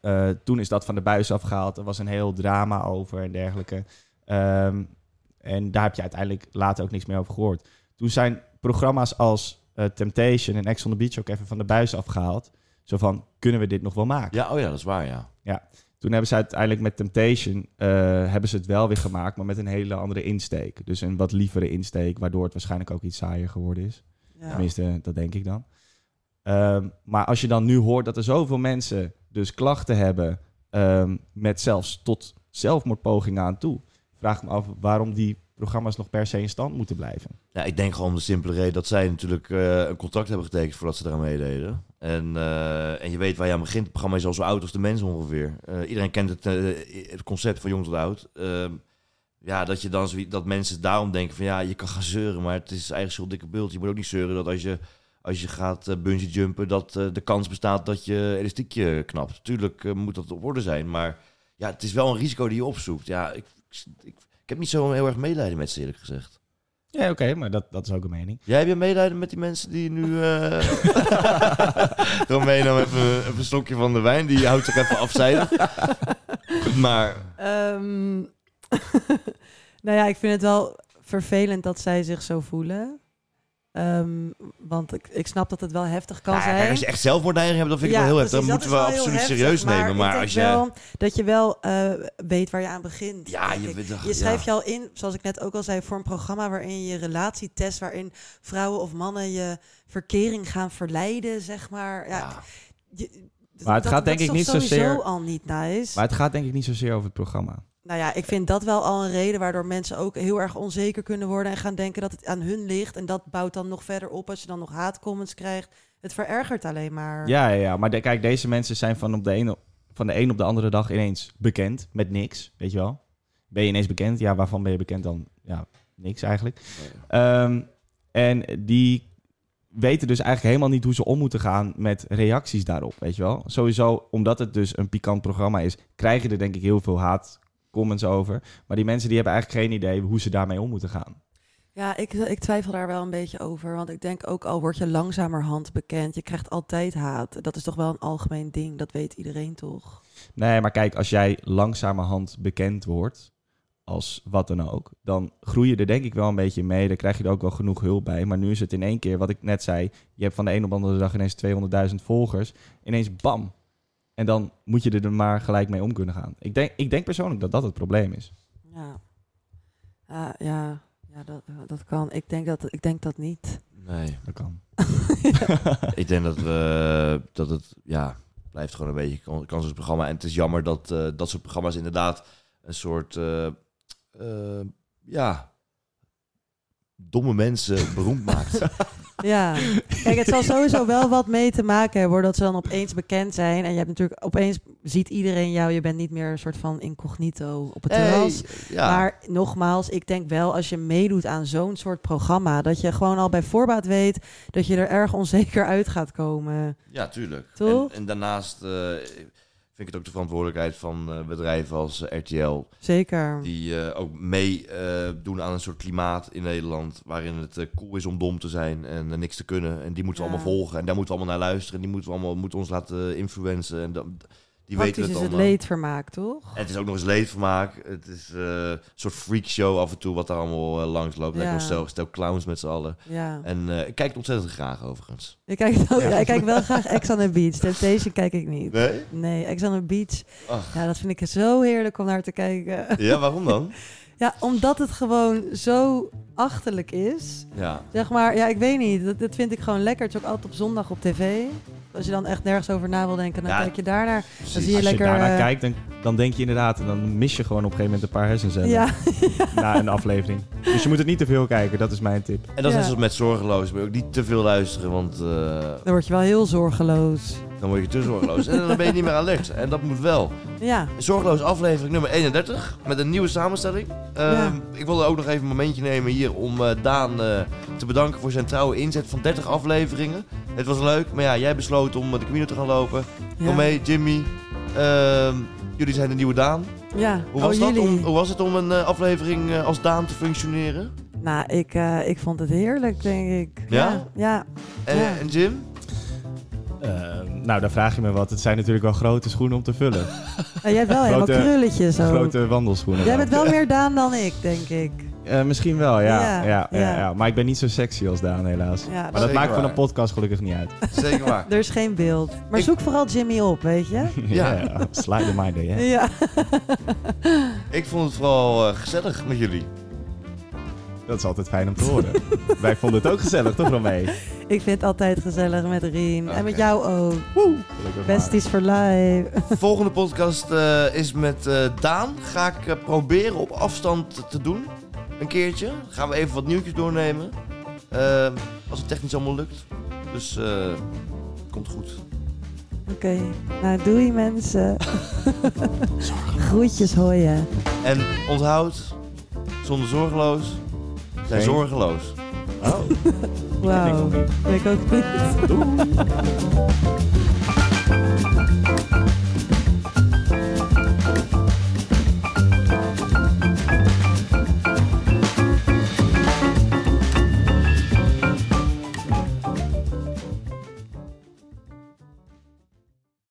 Speaker 3: eh, toen is dat van de buis afgehaald. Er was een heel drama over en dergelijke. Ehm, en daar heb je uiteindelijk later ook niks meer over gehoord. Toen zijn programma's als eh, Temptation en Ex on the Beach ook even van de buis afgehaald. Zo van, kunnen we dit nog wel maken?
Speaker 1: Ja, oh ja, dat is waar, ja.
Speaker 3: Toen hebben ze uiteindelijk met Temptation eh, hebben ze het wel weer gemaakt, maar met een hele andere insteek. Dus een wat lievere insteek, waardoor het waarschijnlijk ook iets saaier geworden is.
Speaker 2: Ja.
Speaker 3: Tenminste, dat denk ik dan. Ehm, maar als je dan nu hoort dat er zoveel mensen dus klachten hebben ehm, met zelfs tot zelfmoordpogingen aan toe, vraag ik me af waarom die programma's nog per se in stand moeten blijven.
Speaker 1: Ja, Nou, ik denk gewoon om de simpele reden dat zij natuurlijk eh, een contract hebben getekend voordat ze eraan meededen. En, eh, en je weet waar je aan begint. Het programma is al zo oud als de mens ongeveer. Eh, iedereen kent het, eh, het concept van jong tot oud. Ehm, ja, dat, je dan zoiets- dat mensen daarom denken van ja, je kan gaan zeuren, maar het is eigenlijk zo'n dikke bult. Je moet ook niet zeuren dat als je, als je gaat eh, bungee jumpen, dat eh, de kans bestaat dat je elastiekje knapt. Tuurlijk eh, moet dat op orde zijn, maar ja, het is wel een risico die je opzoekt. Ja, ik, ik, ik, ik heb niet zo heel erg medelijden met ze eerlijk gezegd.
Speaker 3: Ja, oké, maar dat, dat is ook een mening.
Speaker 1: Jij hebt je medelijden met die mensen die nu... eh [LAUGHS] Romein nam even, even een slokje van de wijn. Die houdt zich even [LAUGHS] afzijdig. maar
Speaker 2: Ehm, [LAUGHS] nou ja, ik vind het wel vervelend dat zij zich zo voelen. Ehm, want ik, ik snap dat het wel heftig kan
Speaker 1: nou ja,
Speaker 2: zijn.
Speaker 1: kijk, als je echt zelfmoordneiging hebt, dan vind ik
Speaker 2: Ja,
Speaker 1: wel heel heftig. Dan moeten
Speaker 2: precies,
Speaker 1: we
Speaker 2: dat is wel
Speaker 1: absoluut
Speaker 2: heel
Speaker 1: serieus
Speaker 2: heftig,
Speaker 1: nemen.
Speaker 2: ik
Speaker 1: Maar
Speaker 2: denk
Speaker 1: als je...
Speaker 2: wel dat je wel eh, weet waar je aan begint.
Speaker 1: ja,
Speaker 2: denk
Speaker 1: je,
Speaker 2: ik.
Speaker 1: weet toch-
Speaker 2: Je schrijft
Speaker 1: ja.
Speaker 2: je al in, zoals ik net ook al zei, voor een programma waarin je je relatie test, waarin vrouwen of mannen je verkering gaan verleiden, zeg maar. Ja,
Speaker 1: Ja.
Speaker 2: je- d-
Speaker 3: Maar het gaat denk
Speaker 2: is
Speaker 3: ik
Speaker 2: toch
Speaker 3: niet
Speaker 2: sowieso
Speaker 3: zozeer-
Speaker 2: al niet nice.
Speaker 3: Maar het gaat denk ik niet zozeer over het programma.
Speaker 2: Nou ja, ik vind dat wel al een reden waardoor mensen ook heel erg onzeker kunnen worden en gaan denken dat het aan hun ligt. En dat bouwt dan nog verder op als je dan nog haatcomments krijgt. Het verergert alleen maar.
Speaker 3: Ja, ja, ja. maar de- kijk, deze mensen zijn van, op de ene, van de een op de andere dag ineens bekend met niks, weet je wel. Ben je ineens bekend? Ja, waarvan ben je bekend dan? Ja, niks eigenlijk. Ehm, en die weten dus eigenlijk helemaal niet hoe ze om moeten gaan met reacties daarop, weet je wel. Sowieso, omdat het dus een pikant programma is, krijgen er denk ik heel veel haatcomments over. Maar die mensen die hebben eigenlijk geen idee hoe ze daarmee om moeten gaan.
Speaker 2: Ja, ik, ik twijfel daar wel een beetje over. Want ik denk ook al word je langzamerhand bekend, je krijgt altijd haat. Dat is toch wel een algemeen ding, dat weet iedereen toch?
Speaker 3: Nee, maar kijk, als jij langzamerhand bekend wordt, als wat dan ook, dan groei je er denk ik wel een beetje mee. Dan krijg je er ook wel genoeg hulp bij. Maar nu is het in één keer, wat ik net zei, je hebt van de een op de andere dag ineens 200.000 volgers. Ineens bam. En dan moet je er maar gelijk mee om kunnen gaan. Ik denk, ik denk persoonlijk dat dat het probleem is.
Speaker 2: Ja, Ah, ja, ja dat, dat kan. Ik denk dat, ik denk dat niet.
Speaker 1: Nee,
Speaker 3: Dat
Speaker 2: [LAUGHS]
Speaker 3: kan.
Speaker 1: ik denk dat, we, dat het... Ja, blijft gewoon een beetje kan- kansloos programma. En het is jammer dat eh, dat soort programma's inderdaad een soort... eh, eh, ja... Domme mensen beroemd maakt. [LAUGHS]
Speaker 2: Ja, kijk, het zal sowieso wel wat mee te maken hebben hoor, dat ze dan opeens bekend zijn. En je hebt natuurlijk opeens ziet iedereen jou, je bent niet meer een soort van incognito op het
Speaker 1: Hey,
Speaker 2: terras.
Speaker 1: ja.
Speaker 2: Maar nogmaals, ik denk wel als je meedoet aan zo'n soort programma, dat je gewoon al bij voorbaat weet dat je er erg onzeker uit gaat komen.
Speaker 1: Ja, tuurlijk.
Speaker 2: Toch?
Speaker 1: En, en daarnaast eh, vind ik het ook de verantwoordelijkheid van eh, bedrijven als eh, RTL,
Speaker 2: Zeker.
Speaker 1: die eh, ook meedoen doen aan een soort klimaat in Nederland, waarin het eh, cool is om dom te zijn en eh, niks te kunnen. En die moeten we
Speaker 2: Ja.
Speaker 1: allemaal volgen en daar moeten we allemaal naar luisteren. En die moeten we allemaal moeten ons laten eh, influencen. En dat, die weten
Speaker 2: Praktisch
Speaker 1: het
Speaker 2: is dus
Speaker 1: allemaal.
Speaker 2: het leedvermaak, toch?
Speaker 1: En het is ook nog eens leedvermaak. Het is eh, een soort freakshow af en toe wat daar allemaal eh, langs loopt. Lekker
Speaker 2: Ja.
Speaker 1: een stel, stel clowns met z'n allen.
Speaker 2: Ja.
Speaker 1: En eh, ik kijk het ontzettend graag overigens.
Speaker 2: Ik kijk, het ook-
Speaker 3: Ja.
Speaker 2: ja, ik kijk wel graag Ex on the Beach. Temptation kijk ik niet.
Speaker 1: Nee?
Speaker 2: Nee, Ex on the Beach.
Speaker 1: Ach.
Speaker 2: Ja, dat vind ik zo heerlijk om naar te kijken. [LAUGHS]
Speaker 1: Ja, waarom dan?
Speaker 2: Ja, omdat het gewoon zo achterlijk is.
Speaker 1: Ja.
Speaker 2: Zeg maar, ja, ik weet niet. Dat, dat vind ik gewoon lekker. Het is ook altijd op zondag op tv. Als je dan echt nergens over na wil denken, dan
Speaker 1: Ja,
Speaker 2: kijk je daarnaar. Dan zie
Speaker 1: precies.
Speaker 2: je
Speaker 3: Als je
Speaker 2: lekker...
Speaker 3: daarnaar
Speaker 2: eh,
Speaker 3: kijkt, dan, dan denk je inderdaad, en dan mis je gewoon op een gegeven moment een paar hersencellen
Speaker 2: Ja,
Speaker 3: na een aflevering. Dus je moet het niet te veel kijken, dat is mijn tip.
Speaker 1: En dat is
Speaker 2: Ja.
Speaker 1: net zoals met zorgeloos. Moet je ook niet te veel luisteren, want eh,
Speaker 2: dan word je wel heel zorgeloos.
Speaker 1: dan word je te zorgeloos. en dan ben je niet meer alert. En dat moet wel.
Speaker 2: Ja,
Speaker 1: Zorgeloos aflevering nummer 31 met een nieuwe samenstelling. Ehm,
Speaker 2: Ja.
Speaker 1: Ik wilde ook nog even een momentje nemen hier om eh, Daan eh, te bedanken voor zijn trouwe inzet van 30 afleveringen. Het was leuk, maar ja, jij besloot om eh, de camino te gaan lopen.
Speaker 2: ja.
Speaker 1: Kom mee, Jimmy. Ehm, jullie zijn de nieuwe Daan.
Speaker 2: Ja.
Speaker 1: Hoe
Speaker 2: Oh,
Speaker 1: was, dat
Speaker 2: jullie.
Speaker 1: om, hoe was het om een eh, aflevering eh, als Daan te functioneren?
Speaker 2: Nou, ik, eh, ik vond het heerlijk, denk ik.
Speaker 1: Ja?
Speaker 2: Ja. ja.
Speaker 1: En,
Speaker 2: Ja.
Speaker 1: en Jim?
Speaker 3: Eh, nou, daar vraag je me wat. Het zijn natuurlijk wel grote schoenen om te vullen.
Speaker 2: Nou, jij hebt wel helemaal
Speaker 3: Grote-
Speaker 2: krulletjes ook.
Speaker 3: Grote wandelschoenen.
Speaker 2: Jij
Speaker 3: dan.
Speaker 2: bent wel meer Daan dan ik, denk ik.
Speaker 3: Eh, misschien wel, ja.
Speaker 2: Ja,
Speaker 3: Ja, ja, ja,
Speaker 2: ja.
Speaker 3: Maar ik ben niet zo sexy als Daan, helaas.
Speaker 2: Ja,
Speaker 3: maar
Speaker 2: dat-
Speaker 3: dat
Speaker 1: Zeker
Speaker 3: maakt van
Speaker 1: waar.
Speaker 3: een podcast gelukkig niet uit.
Speaker 1: Zeker waar.
Speaker 2: [LAUGHS] Er is geen beeld. Maar
Speaker 1: Ik-
Speaker 2: zoek vooral Jimmy op, weet
Speaker 1: [LAUGHS]
Speaker 2: je?
Speaker 1: [LAUGHS]
Speaker 3: [LAUGHS]
Speaker 1: Ja.
Speaker 3: slide the mind, hè.
Speaker 2: Ja.
Speaker 1: Ik vond het vooral eh, gezellig met jullie.
Speaker 3: Dat is altijd fijn om te horen. Wij vonden het ook gezellig, toch, Romee?
Speaker 2: Ik vind het altijd gezellig met Rien.
Speaker 1: Oké.
Speaker 2: En met jou ook.
Speaker 3: Gelukkig maar.
Speaker 2: Besties for life.
Speaker 1: Volgende podcast eh, is met eh, Daan. Ga ik eh, proberen op afstand te doen. Een keertje. Gaan we even wat nieuwtjes doornemen. Eh, als het technisch allemaal lukt. Dus eh, komt goed.
Speaker 2: Oké. Nou, doei
Speaker 3: [LAUGHS]
Speaker 2: mensen. Groetjes hooien.
Speaker 1: En onthoud, zonder zorgeloos, zijn
Speaker 3: Geen-
Speaker 1: zorgeloos.
Speaker 3: Oh,
Speaker 2: Wauw.
Speaker 3: ik ook niet.
Speaker 2: Ik ook niet.
Speaker 3: Doei.